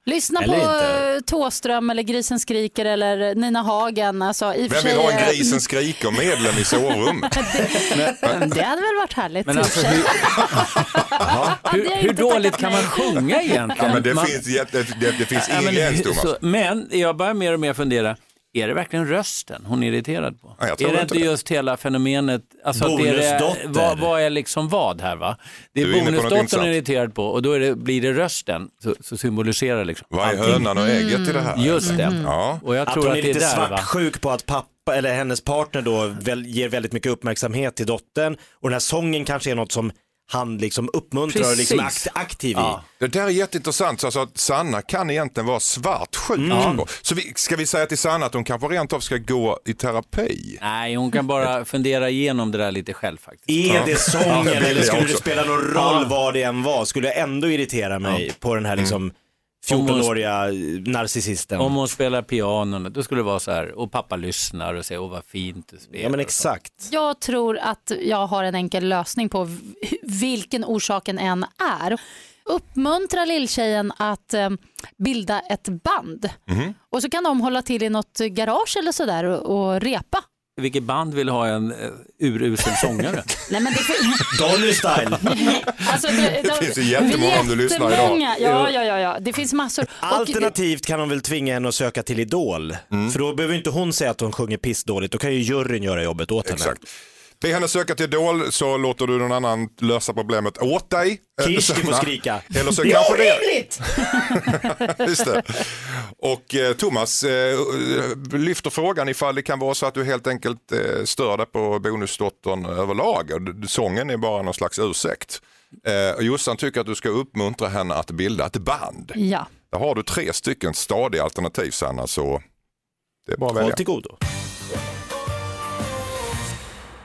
Speaker 5: Lyssna
Speaker 1: Eller
Speaker 5: på
Speaker 1: inte.
Speaker 5: inte. Tåström eller Grisen skriker eller Nina Hagen. Alltså, i och för
Speaker 3: Vem vill
Speaker 5: sig-
Speaker 3: ha en grisen skriker medlem i sovrummet?
Speaker 5: Det hade väl varit härligt.
Speaker 2: Men alltså, hur,
Speaker 5: Hade
Speaker 2: hur,
Speaker 5: jag
Speaker 2: hur
Speaker 5: inte tackat
Speaker 2: dåligt kan man
Speaker 5: nej.
Speaker 2: sjunga egentligen?
Speaker 3: Ja, men det,
Speaker 2: man,
Speaker 3: finns, jätte, det, det finns ingen
Speaker 2: Ja, men-
Speaker 3: gräns Thomas.
Speaker 2: så- Men jag börjar mer och mer fundera, är det verkligen rösten hon är irriterad på?
Speaker 3: Ja, jag tror
Speaker 2: är det
Speaker 3: inte
Speaker 2: inte
Speaker 3: det.
Speaker 2: just hela fenomenet, alltså att det är det,
Speaker 1: Bonusdotter.
Speaker 2: vad, vad är liksom vad här va? Det är,
Speaker 3: Du är inne på något
Speaker 2: bonusdottern hon är
Speaker 3: intressant.
Speaker 2: irriterad på och då är det, blir det rösten så, så symboliserar liksom.
Speaker 3: Vad är hönan och ägget i det här?
Speaker 2: Just det.
Speaker 3: Ja.
Speaker 2: Och jag
Speaker 1: Att
Speaker 2: tror
Speaker 1: hon
Speaker 2: att,
Speaker 1: är
Speaker 2: det är
Speaker 1: lite
Speaker 2: där va?
Speaker 1: svartsjuk på att pappa eller hennes partner då väl, ger väldigt mycket uppmärksamhet till dottern och den här sången kanske är något som han liksom uppmuntrar och liksom är akt- aktiv i.
Speaker 3: Det där är jätteintressant, så alltså att Sanna kan egentligen vara svartsjuk.
Speaker 2: Mm.
Speaker 3: Så vi, ska vi säga till Sanna att hon kanske rent av ska gå i terapi?
Speaker 2: Nej, hon kan bara fundera igenom det där lite själv faktiskt.
Speaker 1: Är det sången
Speaker 3: Ja, det vill
Speaker 1: eller
Speaker 3: jag
Speaker 1: skulle det
Speaker 3: också.
Speaker 1: spela någon roll vad det än var? Skulle jag ändå irritera mig på den här
Speaker 3: Mm.
Speaker 1: liksom 14-åriga narcissisten?
Speaker 2: Om hon spelar piano, då skulle det vara så här, och pappa lyssnar och säger, åh vad fint du spelar.
Speaker 1: Ja men exakt.
Speaker 5: Jag tror att jag har en enkel lösning på v- vilken orsaken än är. Uppmuntra lilltjejen att eh, bilda ett band.
Speaker 3: Mhm.
Speaker 5: Och så kan de hålla till i något garage eller sådär och, och repa.
Speaker 2: Vilket band vill ha en eh, urusel sångare?
Speaker 5: Nej, men det,
Speaker 1: Dolly style.
Speaker 5: alltså, det,
Speaker 3: Det finns ju jättemånga om du lyssnar idag.
Speaker 5: Jättemånga. Ja, ja, ja, ja. Det finns massor. Och-
Speaker 1: Alternativt kan de väl tvinga henne att söka till Idol.
Speaker 3: Mm.
Speaker 1: För då behöver inte hon säga att hon sjunger pissdåligt, då kan ju juryn göra jobbet åt henne.
Speaker 3: Exakt. Be henne söka till Idol så låter du någon annan lösa problemet åt dig. eh,
Speaker 1: Kirsti får
Speaker 3: Sanna.
Speaker 1: skrika.
Speaker 3: Eller så kanske det. Just det. Och eh, Thomas eh, lyfter frågan ifall det kan vara så att du helt enkelt eh, stör dig på bonusdottern överlag. Och d- Sången är bara någon slags ursäkt. Eh, och Jossan tycker att du ska uppmuntra henne att bilda ett band.
Speaker 5: Ja.
Speaker 3: Där har du tre stycken stadiga alternativ Sanna, så det är bara att välja.
Speaker 1: Håll till godo.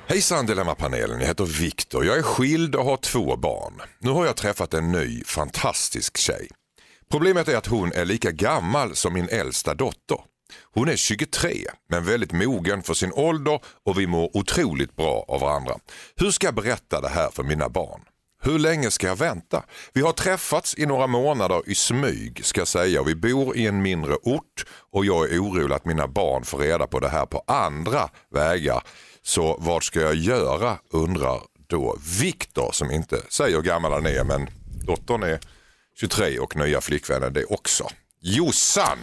Speaker 3: Hejsan Dilemmapanelen, jag heter Viktor. Jag är skild och har två barn. Nu har jag träffat en ny fantastisk tjej. Problemet är att hon är lika gammal som min äldsta dotter. Hon är 23 men väldigt mogen för sin ålder och vi mår otroligt bra av varandra. Hur ska jag berätta det här för mina barn? Hur länge ska jag vänta? Vi har träffats i några månader i smyg ska jag säga och vi bor i en mindre ort och jag är orolig att mina barn får reda på det här på andra vägar. Så vad ska jag göra undrar då Viktor som inte säger hur gammal han är men dottern är 23 och nya flickvännen det också. Jossan!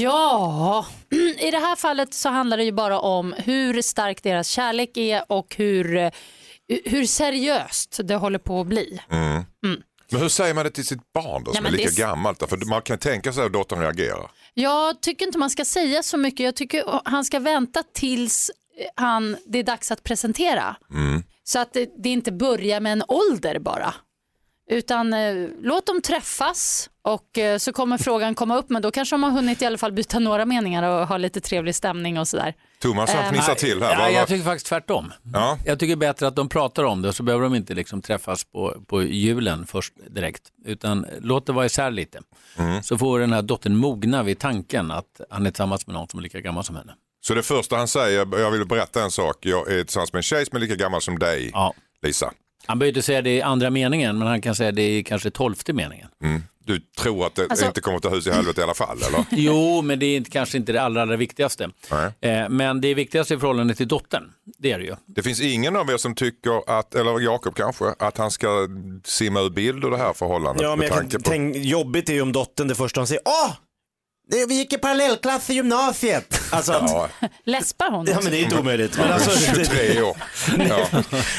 Speaker 5: Ja, i det här fallet så handlar det ju bara om hur stark deras kärlek är och hur, eh, hur seriöst det håller på att bli.
Speaker 3: Men hur säger man det till sitt barn då, som
Speaker 5: men
Speaker 3: är lika
Speaker 5: det är-
Speaker 3: gammalt? Då? För man kan tänka sig hur dottern reagerar.
Speaker 5: Jag tycker inte man ska säga så mycket. Jag tycker han ska vänta tills eh, han, det är dags att presentera. Så att det, det inte börjar med en ålder bara. Utan eh, låt dem träffas och eh, så kommer frågan komma upp men då kanske de har hunnit i alla fall byta några meningar och ha lite trevlig stämning och sådär.
Speaker 3: Thomas
Speaker 5: Ehm,
Speaker 3: han fnissar till här.
Speaker 2: Nej,
Speaker 3: Va, va?
Speaker 2: jag tycker faktiskt tvärtom.
Speaker 3: Ja.
Speaker 2: Jag tycker bättre att de pratar om det och så behöver de inte liksom träffas på, på julen först direkt. Utan låt det vara isär lite.
Speaker 3: Mm.
Speaker 2: Så får den här dottern mogna vid tanken att han är tillsammans med någon som är lika gammal som henne.
Speaker 3: Så det första han säger, jag vill berätta en sak, jag är tillsammans med en tjej som är lika gammal som dig,
Speaker 2: Ja.
Speaker 3: Lisa.
Speaker 2: Han behöver inte säga det i andra meningen, men han kan säga det i kanske tolfte meningen.
Speaker 3: Du tror att det
Speaker 5: Alltså-
Speaker 3: inte kommer att ta hus i helvete i alla fall eller?
Speaker 2: Jo, men det är inte, kanske inte det allra, allra viktigaste.
Speaker 3: Nej.
Speaker 2: Eh, men det viktigaste i förhållande till dottern, det är det ju.
Speaker 3: Det finns ingen av er som tycker att, eller Jakob kanske, att han ska simma ur bild och det här förhållandet
Speaker 1: Ja, men
Speaker 3: med
Speaker 1: jag
Speaker 3: tanke
Speaker 1: kan,
Speaker 3: på...
Speaker 1: tänk, jobbigt är ju om dottern det första hon säger, åh! det- Vi gick i parallellklass i gymnasiet. Alltså att, ja.
Speaker 3: Ja,
Speaker 5: Läspar hon?
Speaker 1: men det är inte omöjligt. Men alltså,
Speaker 3: 23 år. Ja.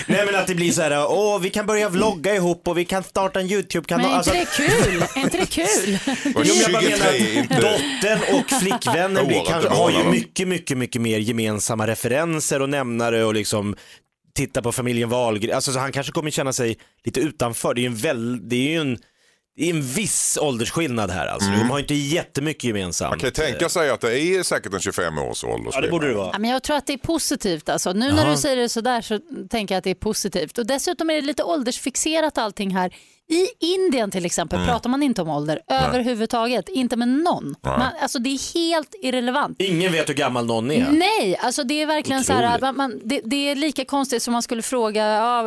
Speaker 1: nej men att det blir så här, åh vi kan börja vlogga ihop och vi kan starta en
Speaker 5: Men
Speaker 1: YouTube-kanal.
Speaker 5: är
Speaker 1: Alltså,
Speaker 5: inte det kul? Är inte det kul?
Speaker 3: Och
Speaker 1: Jo, men jag bara
Speaker 3: 23
Speaker 1: menar
Speaker 3: är
Speaker 1: att
Speaker 3: inte...
Speaker 1: dottern och flickvännen
Speaker 3: Året
Speaker 1: blir,
Speaker 3: är
Speaker 1: kanske,
Speaker 3: bra,
Speaker 1: har ju
Speaker 3: va?
Speaker 1: mycket, mycket, mycket mer gemensamma referenser och nämnare och liksom titta på familjen Wahlgren. Alltså, så han kanske kommer känna sig lite utanför. Det är ju en, väl, det är ju en, det är en viss åldersskillnad här alltså. De har ju inte jättemycket gemensamt.
Speaker 3: Man Mm. kan ju tänka sig att det är säkert en 25-årsålder.
Speaker 1: Ja, det borde det vara.
Speaker 5: Ja, men jag tror att det är positivt. Alltså. Nu när du säger det sådär så tänker jag att det är positivt. Och dessutom är det lite åldersfixerat allting här. I Indien till exempel
Speaker 3: Mm.
Speaker 5: pratar man inte om ålder överhuvudtaget. Inte med någon. Man, alltså, det är helt irrelevant.
Speaker 1: Ingen vet hur gammal någon är.
Speaker 5: Nej, alltså det är verkligen så här,
Speaker 1: Otroligt.
Speaker 5: att man, man, det, det är lika konstigt som man skulle fråga ja,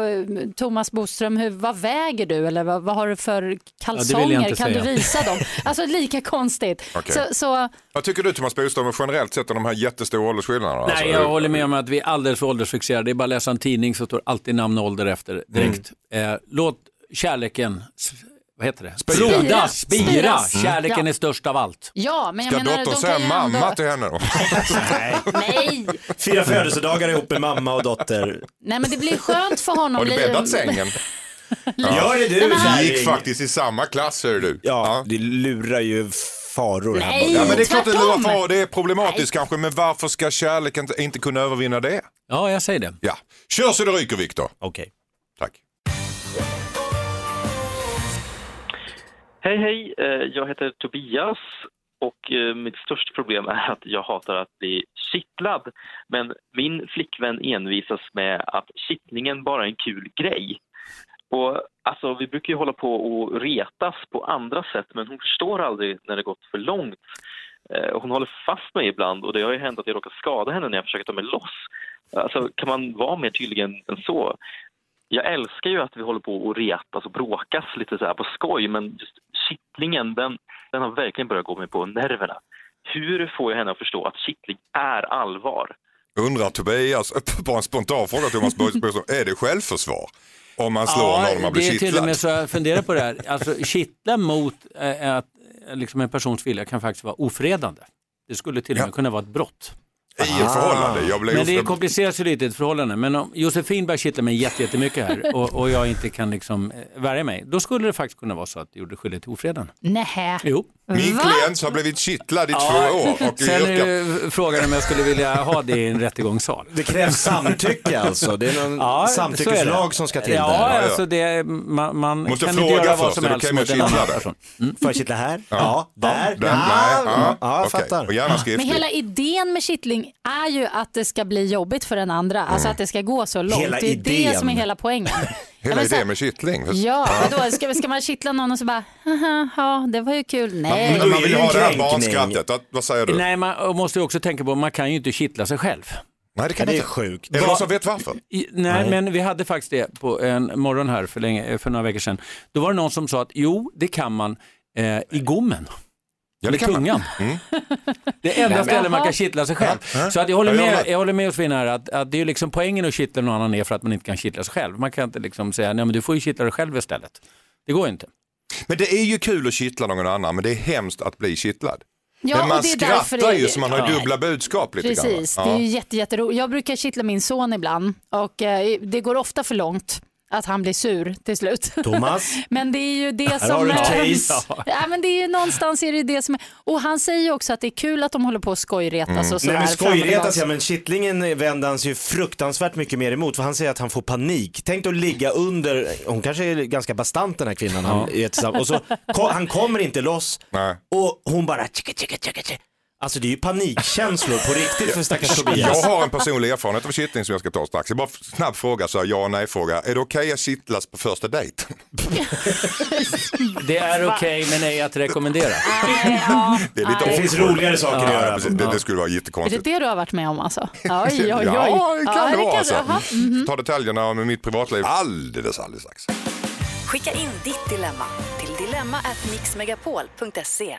Speaker 5: Thomas Boström, hur, vad väger du eller vad, vad har du för kalsonger,
Speaker 2: inte
Speaker 5: kan du
Speaker 2: säga.
Speaker 5: visa dem? Alltså lika konstigt.
Speaker 3: Okej.
Speaker 5: Så, så
Speaker 3: Vad tycker du Thomas Bodström generellt sett om de här jättestora åldersskillnaderna? Alltså,
Speaker 2: Nej, jag håller med om att vi är alldeles för åldersfixerade. Det är bara att läsa en tidning så står alltid namn och ålder efter direkt.
Speaker 3: Mm.
Speaker 2: Eh, låt kärleken, s- vad heter det?
Speaker 3: Spira.
Speaker 2: Spira,
Speaker 5: Spira.
Speaker 2: spira.
Speaker 5: Mm.
Speaker 2: Kärleken
Speaker 5: Ja.
Speaker 2: är störst av allt.
Speaker 5: ja, men jag
Speaker 3: Ska
Speaker 5: menar,
Speaker 3: dottern
Speaker 5: de kan
Speaker 3: säga
Speaker 5: ju
Speaker 3: mamma
Speaker 5: ändå...
Speaker 3: till henne då?
Speaker 1: Nej.
Speaker 5: Nej,
Speaker 1: Fyra födelsedagar ihop med mamma och dotter.
Speaker 5: nej men det blir skönt för honom.
Speaker 3: Har du
Speaker 5: Det-
Speaker 3: bäddat sängen?
Speaker 1: Gör det du
Speaker 3: Vi gick
Speaker 1: kärring.
Speaker 3: faktiskt i samma klass hör du.
Speaker 1: Ja, det lurar ju faror här
Speaker 5: Nej.
Speaker 1: borta.
Speaker 3: Ja, men det är klart det lurar
Speaker 5: Tvärtom.
Speaker 3: på, det är problematiskt kanske, men varför ska kärleken inte- inte kunna övervinna det?
Speaker 2: Ja, jag säger det.
Speaker 3: Ja, kör så det ryker Viktor.
Speaker 1: Okej.
Speaker 3: Tack.
Speaker 9: Hej, hej. Eh, Jag heter Tobias och eh, mitt största problem är att jag hatar att bli kittlad. Men min flickvän envisas med att kittlingen bara är en kul grej. Och alltså, vi brukar ju hålla på och retas på andra sätt, men hon förstår aldrig när det gått för långt. Eh, Hon håller fast mig ibland och det har ju hänt att jag råkar skada henne när jag försöker ta mig loss. Alltså, kan man vara mer tydlig än än så? Jag älskar ju att vi håller på och retas och bråkas lite så här på skoj, men just kittlingen, den, den har verkligen börjat gå mig på nerverna. Hur får jag henne att förstå att kittling är allvar?
Speaker 3: Undrar Tobias, bara en spontan fråga Thomas Bodström, är det självförsvar? Om man slår någon man blir
Speaker 2: det är till och
Speaker 3: kittlad?
Speaker 2: med så jag funderar på det här. Alltså, kittla mot eh, att, eh, liksom en persons vilja kan faktiskt vara ofredande. Det skulle till och med kunna vara ett brott.
Speaker 3: I ett förhållande, jag blev
Speaker 2: Men det
Speaker 3: ofta-
Speaker 2: kompliceras ju lite i ett förhållande. Men om Josefin börjar kittla mig jätte- jättemycket här och, och jag inte kan liksom eh, värja mig, då skulle det faktiskt kunna vara så att du gjorde skyldig till ofredande.
Speaker 5: Nähä.
Speaker 2: Jo.
Speaker 3: Min
Speaker 5: Va?
Speaker 3: klient har blivit kittlad i två år och
Speaker 2: Sen är
Speaker 3: yrkar...
Speaker 2: det frågan om jag skulle vilja ha det i en rättegångssal.
Speaker 1: Det krävs samtycke alltså. Det är någon
Speaker 2: så är det.
Speaker 1: samtyckeslag som ska till
Speaker 2: ja,
Speaker 1: där.
Speaker 3: ja.
Speaker 2: Alltså det, man, man
Speaker 3: Måste
Speaker 2: kan
Speaker 3: fråga
Speaker 2: inte göra vad
Speaker 3: först,
Speaker 2: som
Speaker 3: eller
Speaker 2: helst
Speaker 3: kan jag
Speaker 2: mot en annan
Speaker 3: kittla dig?
Speaker 2: person.
Speaker 1: Får jag kittla här? Ja. Där?
Speaker 3: Den,
Speaker 1: ja.
Speaker 3: nej, ja,
Speaker 1: ja, jag
Speaker 3: okej.
Speaker 1: fattar.
Speaker 3: Och gärna
Speaker 5: Men
Speaker 3: skriftlig.
Speaker 5: hela idén med kittling är ju att det ska bli jobbigt för den andra.
Speaker 3: Mm.
Speaker 5: Alltså att det ska gå så långt.
Speaker 1: Hela
Speaker 5: det är
Speaker 1: idén.
Speaker 5: det som är hela poängen. Ja,
Speaker 3: Hela
Speaker 5: men så här-
Speaker 3: idén med kittling.
Speaker 5: Ja, vadå? Ska, ska man kittla någon och så bara, haha, ja, det var ju kul. Nej.
Speaker 1: men-
Speaker 3: Man vill ju ha det här
Speaker 1: Kränkning.
Speaker 3: barnskrattet, Vad- vad säger du? Nej,
Speaker 2: Nej, man och måste ju också tänka på man kan ju inte kittla sig själv.
Speaker 3: det
Speaker 1: Ja,
Speaker 3: kan man
Speaker 1: det är
Speaker 3: inte.
Speaker 1: sjukt.
Speaker 3: Är det någon som vet varför?
Speaker 2: I, nej, men vi hade faktiskt det på en morgon här för, länge, för några veckor sedan. Då var det någon som sa att jo, det kan man eh, i gommen.
Speaker 3: Ja, det
Speaker 2: med
Speaker 3: kan man. Mm.
Speaker 2: tungan. Det enda stället man kan kittla sig själv. Så att jag håller
Speaker 3: Ja, jag
Speaker 2: med,
Speaker 3: håller.
Speaker 2: jag håller med Josefin här att, att det är ju liksom poängen att kittla någon annan är för att man inte kan kittla sig själv. Man kan inte liksom säga, nej men du får ju kittla dig själv istället. Det går ju inte.
Speaker 3: Men det är ju kul att kittla någon annan, men det är hemskt att bli kittlad.
Speaker 5: Ja,
Speaker 3: men man
Speaker 5: och det är därför
Speaker 3: skrattar
Speaker 5: det är-
Speaker 3: ju så man har
Speaker 5: Ja.
Speaker 3: dubbla budskap lite
Speaker 5: Precis,
Speaker 3: grann.
Speaker 5: det
Speaker 3: va?
Speaker 5: är ju
Speaker 3: Ja.
Speaker 5: jätte, jätteroligt. Jag brukar kittla min son ibland och eh, det går ofta för långt att han blir sur till slut.
Speaker 1: Thomas?
Speaker 5: men det är ju det
Speaker 1: Här har
Speaker 5: som...
Speaker 1: du ett
Speaker 5: eh,
Speaker 1: case.
Speaker 5: Ja, men det är ju någonstans är det ju det som... Och han säger ju också att det är kul att de håller på och skojretas och
Speaker 1: Mm.
Speaker 5: sådär.
Speaker 1: Nej men
Speaker 5: fram och
Speaker 1: skojretas
Speaker 5: tillbaks.
Speaker 1: ja, men kittlingen vänder han sig ju fruktansvärt mycket mer emot för han säger att han får panik. Tänk att ligga under, hon kanske är ganska bastant den här kvinnan han är tillsammans och så ko- han kommer inte loss
Speaker 3: Nej.
Speaker 1: och hon bara tjicka, tjicka, tjicka, tjicka. Alltså det är ju panikkänslor på riktigt för stackars
Speaker 3: Jag
Speaker 1: Tobias.
Speaker 3: har en personlig erfarenhet av kittling som jag ska ta strax. Jag bara snabb fråga, så här, ja och nej fråga. Är det okej att kittlas på första dejten?
Speaker 2: Det är okej men ej att rekommendera.
Speaker 3: Det, är lite
Speaker 1: Det finns roligare saker att
Speaker 3: Ja,
Speaker 1: göra.
Speaker 3: precis. Det, det skulle vara
Speaker 5: Är det
Speaker 3: jättekonstigt.
Speaker 5: det du har varit med om alltså? Oj, oj, oj.
Speaker 3: Ja, det kan det vara. Alltså.
Speaker 5: jaha.
Speaker 3: Ta detaljerna om mitt privatliv alldeles, alldeles strax.
Speaker 4: Skicka in ditt dilemma till dilemma@mixmegapol.se.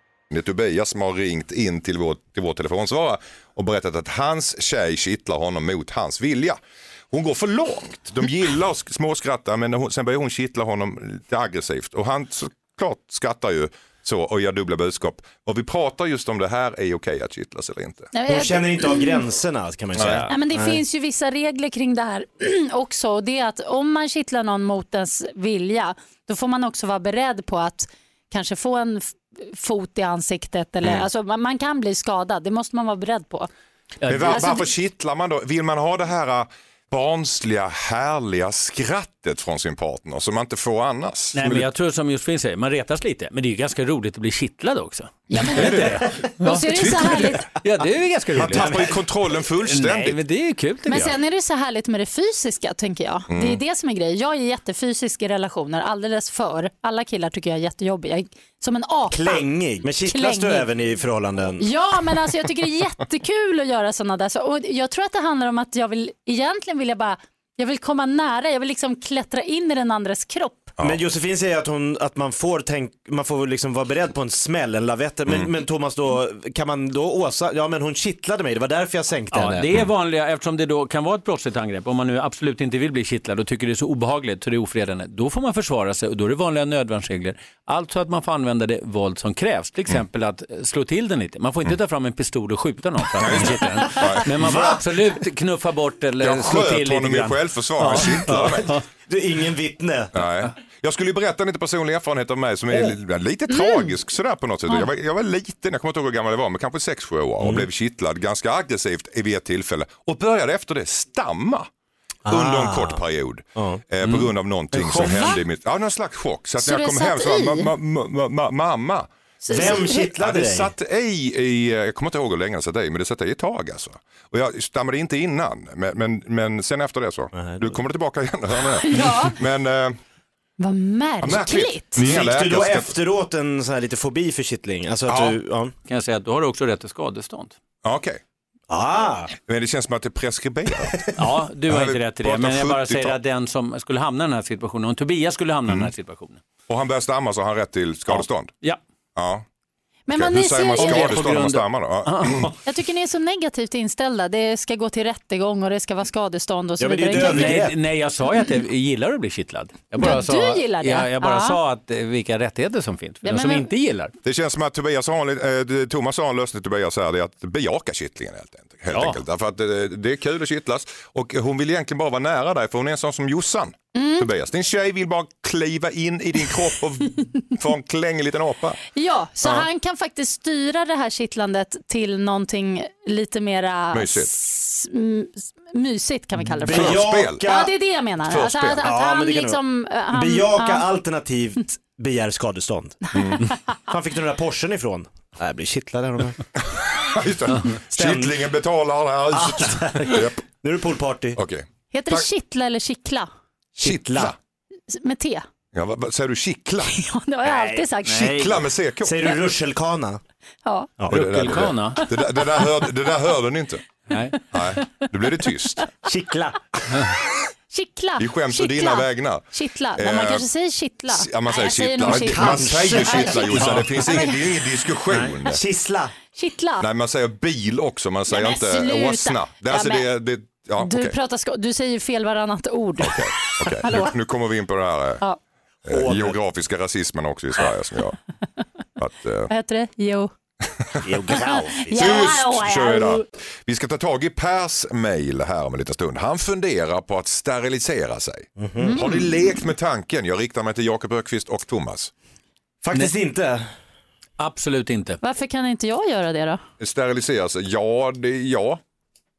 Speaker 3: Det är Tobias som har ringt in till vår, till vår telefonsvarare och berättat att hans tjej kittlar honom mot hans vilja. Hon går för långt. De gillar att sk- småskratta men när hon, sen börjar hon kittla honom lite aggressivt. Och han såklart skrattar ju så och gör dubbla budskap. Och vi pratar just om det här, är okej att kittlas eller inte?
Speaker 5: Nej, men
Speaker 1: Hon
Speaker 5: jag-
Speaker 1: känner inte av gränserna kan man ju säga.
Speaker 5: Nej, men det finns ju vissa regler kring det här också. Och det är att om man kittlar någon mot ens vilja, då får man också vara beredd på att kanske få en f- fot i ansiktet. Eller, alltså, man, man kan bli skadad, det måste man vara beredd på.
Speaker 3: Men var,
Speaker 5: Alltså,
Speaker 3: varför
Speaker 5: det-
Speaker 3: kittlar man då? Vill man ha det här äh, barnsliga, härliga skrattet från sin partner som man inte får annars?
Speaker 2: Nej men jag tror som Josefin säger, man retas lite. Men det är ju ganska roligt att bli kittlad också.
Speaker 5: Och så är det så härligt,
Speaker 2: Ja det är ju ganska
Speaker 3: Man
Speaker 2: roligt.
Speaker 3: tappar ju kontrollen
Speaker 2: Nej
Speaker 3: fullständigt.
Speaker 2: men det är ju kul tycker
Speaker 5: men
Speaker 2: jag.
Speaker 5: sen är det så härligt med det fysiska tänker jag. Det är det som är grejen. Jag är jättefysisk i relationer, alldeles för. Alla killar tycker jag är jättejobbiga. Jag är Som en apa.
Speaker 1: Klängig, men kittlas du
Speaker 5: Klängig.
Speaker 1: även i förhållanden?
Speaker 5: Ja, men alltså jag tycker det är jättekul att göra sådana där saker. Och jag tror att det handlar om att jag vill, egentligen vill jag bara, jag vill komma nära, jag vill liksom klättra in i den andres kropp.
Speaker 1: Men Josefin säger att, hon, att man får, tänk, man får liksom vara beredd på en smäll, en lavett. Men, men Thomas, då, kan man då åsa, ja men hon kittlade mig, det var därför jag sänkte
Speaker 2: Ja,
Speaker 1: henne.
Speaker 2: det mm. är vanliga, eftersom det då kan vara ett brottsligt angrepp, om man nu absolut inte vill bli kittlad och tycker det är så obehagligt så det är ofredande, då får man försvara sig och då är det vanliga nödvärnsregler. Alltså att man får använda det våld som krävs, till exempel att eh, slå till den lite. Man får inte ta fram en pistol och skjuta någon för att kittla den. Men man får
Speaker 1: Va?
Speaker 2: absolut knuffa bort eller
Speaker 3: Jag
Speaker 2: slå till
Speaker 3: sköt
Speaker 2: lite
Speaker 3: honom i
Speaker 2: grann.
Speaker 3: självförsvar, han kittlade mig.
Speaker 1: Du är ingen vittne.
Speaker 3: Nej. Jag skulle ju berätta en lite personlig erfarenhet av mig som är
Speaker 1: Åh.
Speaker 3: li- lite
Speaker 10: Mm.
Speaker 3: tragisk sådär på något sätt. Jag var, jag var liten, jag kommer inte ihåg hur gammal jag var, men kanske 6-7 år
Speaker 10: Mm.
Speaker 3: och blev kittlad ganska aggressivt vid ett tillfälle och började efter det stamma. Under en
Speaker 10: Ah. Mm.
Speaker 3: kort period. Eh, på grund av någonting som
Speaker 10: chock.
Speaker 3: hände i mitt... Ja, någon slags chock. Så att
Speaker 10: Så
Speaker 3: när jag
Speaker 10: det
Speaker 3: kom
Speaker 10: satt
Speaker 3: hem så var
Speaker 10: i?
Speaker 3: ma, ma, ma, ma, ma, mamma.
Speaker 10: Så- Vem så- kittlade
Speaker 3: ja, det
Speaker 10: dig?
Speaker 3: satt i, i, eh, jag kommer inte ihåg hur länge det satt i, men det satt i ett tag alltså. Och jag stammade inte innan, men, men, men sen efter det så. Du kommer tillbaka igen, hör ni?
Speaker 5: Ja.
Speaker 3: Men, eh,
Speaker 5: Vad märkligt.
Speaker 1: Fick du då
Speaker 3: Jag ska-
Speaker 1: efteråt en sån här lite fobi för kittling? Alltså att
Speaker 3: Ja.
Speaker 1: du, ja.
Speaker 2: Kan jag säga att då har du också rätt till skadestånd.
Speaker 3: Ja, Okej.
Speaker 1: Ah.
Speaker 3: Men det känns som att det är preskriberat.
Speaker 2: Ja, du har
Speaker 3: Ja,
Speaker 2: inte
Speaker 3: vi
Speaker 2: rätt till det,
Speaker 3: pratar
Speaker 2: men jag bara
Speaker 3: 70-tal.
Speaker 2: säger att den som skulle hamna i den här situationen, om Tobias skulle hamna i den här situationen.
Speaker 3: Och han börjar stamma så har han rätt till skadestånd?
Speaker 2: Mm. Ja.
Speaker 3: ja.
Speaker 5: Men
Speaker 3: Okej,
Speaker 5: man
Speaker 3: Hur
Speaker 5: är
Speaker 3: säger man
Speaker 5: så-
Speaker 3: skadestånd om
Speaker 2: På
Speaker 3: man
Speaker 2: grund-
Speaker 3: stammar då? Ja.
Speaker 5: Jag tycker ni är så negativt inställda. Det ska gå till rättegång och det ska vara skadestånd och så
Speaker 2: Ja, men det är
Speaker 5: vidare.
Speaker 2: ju ett
Speaker 5: Kan-
Speaker 2: övergrepp. Nej, nej, jag sa ju att jag gillar att bli kittlad. Jag
Speaker 5: Ja, du gillar det.
Speaker 2: Jag, jag bara
Speaker 5: Ja.
Speaker 2: sa att, eh, vilka rättigheter som finns för
Speaker 5: Ja,
Speaker 2: de som
Speaker 5: men-
Speaker 2: inte gillar.
Speaker 3: Det känns som att Tobias har en, li- eh, Thomas har en lösning till Tobias här, det är att bejaka kittlingen helt, enkelt, helt
Speaker 2: Ja.
Speaker 3: enkelt. Därför att eh, det är kul att kittlas och hon vill egentligen bara vara nära dig för hon är en sån som Jossan. Tobias, din tjej vill bara kliva in i din kropp och få en klängig liten apa.
Speaker 5: Ja, så
Speaker 3: Ja.
Speaker 5: han kan faktiskt styra det här kittlandet till någonting lite mera
Speaker 3: Mysigt.
Speaker 5: s- m- s- mysigt kan vi kalla det för.
Speaker 1: Bejaka.
Speaker 5: Ja, det är det jag menar. Alltså, att, att
Speaker 1: Ja,
Speaker 5: han
Speaker 1: men det kan
Speaker 5: liksom...
Speaker 1: det vara.
Speaker 5: Han,
Speaker 1: Bejaka
Speaker 5: ja. Mm.
Speaker 1: alternativt begär skadestånd. Fan fick du den där Porschen ifrån? Nej, Jag blir kittlad av de här.
Speaker 3: Just det. Kittlingen betalar det här huset. Japp.
Speaker 1: Nu är det poolparty.
Speaker 3: Okej.
Speaker 5: Heter det kittla eller kittla?
Speaker 3: Kittla.
Speaker 5: Med T?
Speaker 3: Ja, vad, vad, säger du kittla?
Speaker 5: Det har jag alltid sagt.
Speaker 3: Kittla med CK.
Speaker 1: Säger du ruschelkana?
Speaker 5: Ja.
Speaker 1: Ja.
Speaker 2: Ruckelkana.
Speaker 3: Det, där- det, där hör, det där hörde ni inte.
Speaker 2: Nej.
Speaker 3: Nej, då blir det tyst.
Speaker 1: Kittla.
Speaker 5: Kittla.
Speaker 3: Vi skäms å
Speaker 5: kittla.
Speaker 3: dina vägnar.
Speaker 5: Kittla. Nej, man
Speaker 3: Eh,
Speaker 5: kanske säger kittla.
Speaker 3: Ja, man säger
Speaker 5: Nej, jag
Speaker 3: kittla.
Speaker 5: nog
Speaker 3: Man, man säger
Speaker 5: Nej,
Speaker 3: kittla Jossan, det finns
Speaker 5: Ja, men-
Speaker 3: ingen, det är ingen diskussion.
Speaker 1: Kissla.
Speaker 5: Kittla.
Speaker 3: Nej, man säger bil också, man säger
Speaker 5: men
Speaker 3: inte
Speaker 5: sluta.
Speaker 3: åsna. Det,
Speaker 5: Ja,
Speaker 3: alltså, det,
Speaker 5: men-
Speaker 3: det, ja,
Speaker 5: du,
Speaker 3: okej.
Speaker 5: pratar sko- du säger fel varannat ord.
Speaker 3: Okej,
Speaker 5: Hallå.
Speaker 3: Nu, nu kommer vi in på den här eh,
Speaker 5: Ja.
Speaker 3: eh, geografiska rasismen också i Sverige som jag... Att, eh,
Speaker 5: Vad heter det? Jo.
Speaker 3: Geografiskt.
Speaker 5: Ja, ja,
Speaker 3: Tyst
Speaker 5: ja.
Speaker 3: tjöra. Vi ska ta tag i Pers mejl här om en liten stund. Han funderar på att sterilisera sig.
Speaker 5: Mhm.
Speaker 3: Har ni lekt med tanken? Jag riktar mig till Jakob Ökvist och Thomas.
Speaker 1: Faktiskt inte.
Speaker 2: Absolut inte.
Speaker 5: Varför kan inte jag göra det då?
Speaker 3: Sterilisera sig? Ja, det ja.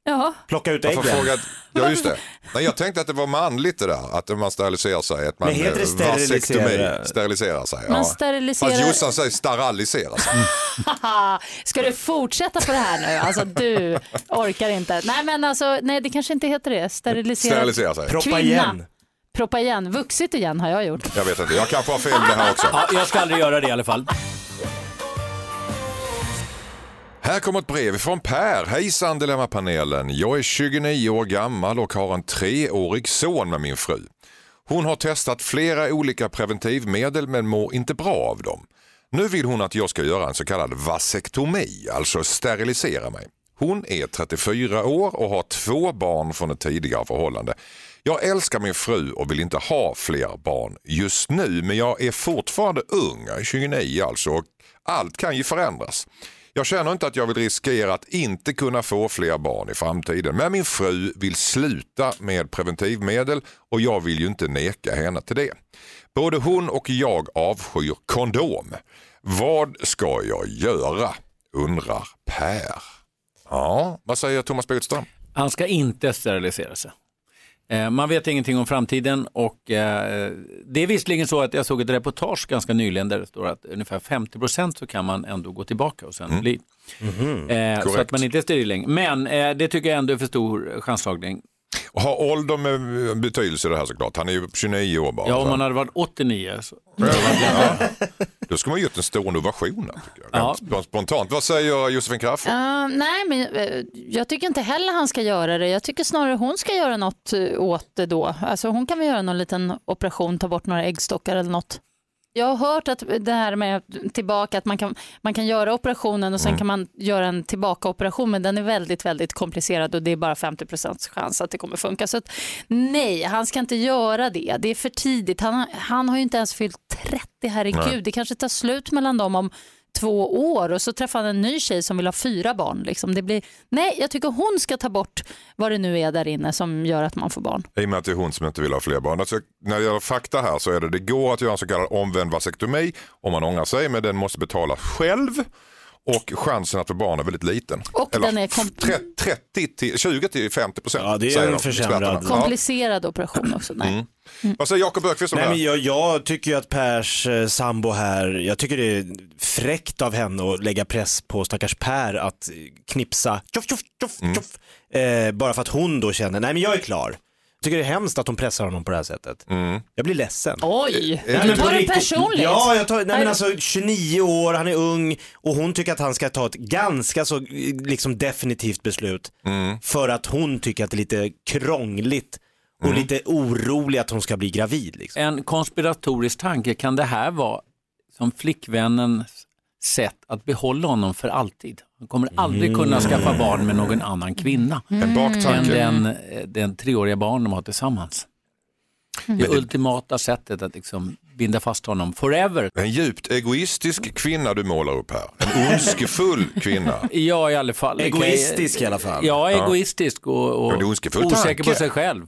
Speaker 5: Ja.
Speaker 1: Plocka ut
Speaker 3: Jag får
Speaker 1: äggen.
Speaker 3: fråga, ja just det. Nej, jag tänkte att det var manligt det där, att man steriliserar sig. Att man
Speaker 1: Men heter det
Speaker 3: eh,
Speaker 1: sterilisera?
Speaker 3: vasektomi, Steriliserar sig.
Speaker 5: Man
Speaker 3: ja.
Speaker 5: steriliserar-
Speaker 3: Fast Jossan säger steriliserar sig.
Speaker 5: Haha, Ska du fortsätta på det här nu? Alltså du orkar inte. Nej men alltså, nej det kanske inte heter det. Sterilisera,
Speaker 3: Sterilisera sig. Proppa
Speaker 5: Kvinna.
Speaker 3: igen.
Speaker 5: Proppa igen. Vuxit igen har jag gjort.
Speaker 3: Jag vet inte, jag kanske har fel det här också.
Speaker 2: Ja, jag ska aldrig göra det i alla fall.
Speaker 3: Här kommer ett brev från Per. Hejsan Dilemmapanelen. Jag är 29 år gammal och har en treårig son med min fru. Hon har testat flera olika preventivmedel men mår inte bra av dem. Nu vill hon att jag ska göra en så kallad vasektomi, alltså sterilisera mig. Hon är 34 år och har två barn från ett tidigare förhållande. Jag älskar min fru och vill inte ha fler barn just nu, men jag är fortfarande ung, jag är 29 alltså, och allt kan ju förändras. Jag känner inte att jag vill riskera att inte kunna få fler barn i framtiden, men min fru vill sluta med preventivmedel och jag vill ju inte neka henne till det. Både hon och jag avskyr kondom. Vad ska jag göra? undrar Per. Ja, vad säger Thomas Bodström?
Speaker 2: Han ska inte sterilisera sig. Eh, Man vet ingenting om framtiden och eh, det är visserligen så att jag såg ett reportage ganska nyligen där det står att ungefär 50 procent så kan man ändå gå tillbaka och sen bli. Eh, så att
Speaker 3: Korrekt.
Speaker 2: man inte är steril längre. Men eh, det tycker jag ändå är för stor chanslagning.
Speaker 3: Har åldern eh, betydelse i det här såklart? Han är ju 29 år bara.
Speaker 2: Ja, om
Speaker 3: så.
Speaker 2: man hade varit 89 så...
Speaker 3: Då skulle man ju gjort en stående ovation. där, Tycker jag. Rent Spontant. Vad säger Josefin Crafoord?
Speaker 5: Eh, nej, men eh, jag tycker inte heller han ska göra det. Jag tycker snarare hon ska göra något eh, åt det då. Alltså hon kan väl göra någon liten operation, ta bort några äggstockar eller något. Jag har hört att det här med tillbaka, att man kan, man kan göra operationen och
Speaker 1: Mm.
Speaker 5: sen kan man göra en tillbakaoperation, men den är väldigt, väldigt komplicerad och det är bara 50 chans att det kommer funka. Så att, nej, han ska inte göra det. Det är för tidigt. Han, han har ju inte ens fyllt 30, herregud.
Speaker 10: Nej.
Speaker 5: Det kanske tar slut mellan dem om två år och så träffar han en ny tjej som vill ha fyra barn. Liksom. Det blir, nej, jag tycker hon ska ta bort vad det nu är där inne som gör att man får barn.
Speaker 3: I och med att det är hon som inte vill ha fler barn. Alltså, när det gäller fakta här så är det, det går att göra en så kallad omvänd vasektomi om man ångrar sig, men den måste betalas själv och chansen att få barn är väldigt liten.
Speaker 5: Och den är kom-
Speaker 3: 30 till 20 till 50 procent
Speaker 1: det är
Speaker 3: säger
Speaker 1: en
Speaker 3: de,
Speaker 1: försämrad-
Speaker 3: experterna. Ja.
Speaker 5: Komplicerad operation också. Nej.
Speaker 3: Mm. Vad säger Jakob Ökvist om
Speaker 1: Nej,
Speaker 3: det här?
Speaker 1: men jag, jag tycker ju att Pers eh, sambo här, jag tycker det är fräckt av henne att lägga press på stackars Per att eh, knipsa tjoff, tjoff, tjoff,
Speaker 3: Mm.
Speaker 1: tjoff, eh, bara för att hon då känner, nej men jag är klar. Jag tycker det är hemskt att hon pressar honom på det här sättet.
Speaker 3: Mm.
Speaker 1: Jag blir ledsen.
Speaker 5: Oj,
Speaker 1: Nej, Eh, men på
Speaker 5: var det
Speaker 1: riktigt.
Speaker 5: personligt?
Speaker 1: Ja, jag tar, nej,
Speaker 5: Nej.
Speaker 1: men alltså 29 år, han är ung och hon tycker att han ska ta ett ganska så eh, liksom definitivt beslut för att hon tycker att det är lite krångligt och lite orolig att hon ska bli gravid. Liksom.
Speaker 2: En konspiratorisk tanke, kan det här vara som flickvännens sätt att behålla honom för alltid? Han kommer aldrig kunna skaffa barn med någon annan kvinna.
Speaker 3: En Mm. baktanke.
Speaker 2: Än den, eh, den treåriga barn de har tillsammans. Det
Speaker 3: Mm.
Speaker 2: ultimata sättet att liksom binda fast honom forever.
Speaker 3: En djupt egoistisk kvinna du målar upp här. En ondskefull kvinna.
Speaker 2: Ja, i alla fall.
Speaker 1: Egoistisk i alla fall.
Speaker 2: Ja,
Speaker 3: Ja.
Speaker 2: egoistisk och,
Speaker 3: Men
Speaker 2: och
Speaker 3: det är ondskefull
Speaker 2: osäker
Speaker 3: tanke.
Speaker 2: på sig själv.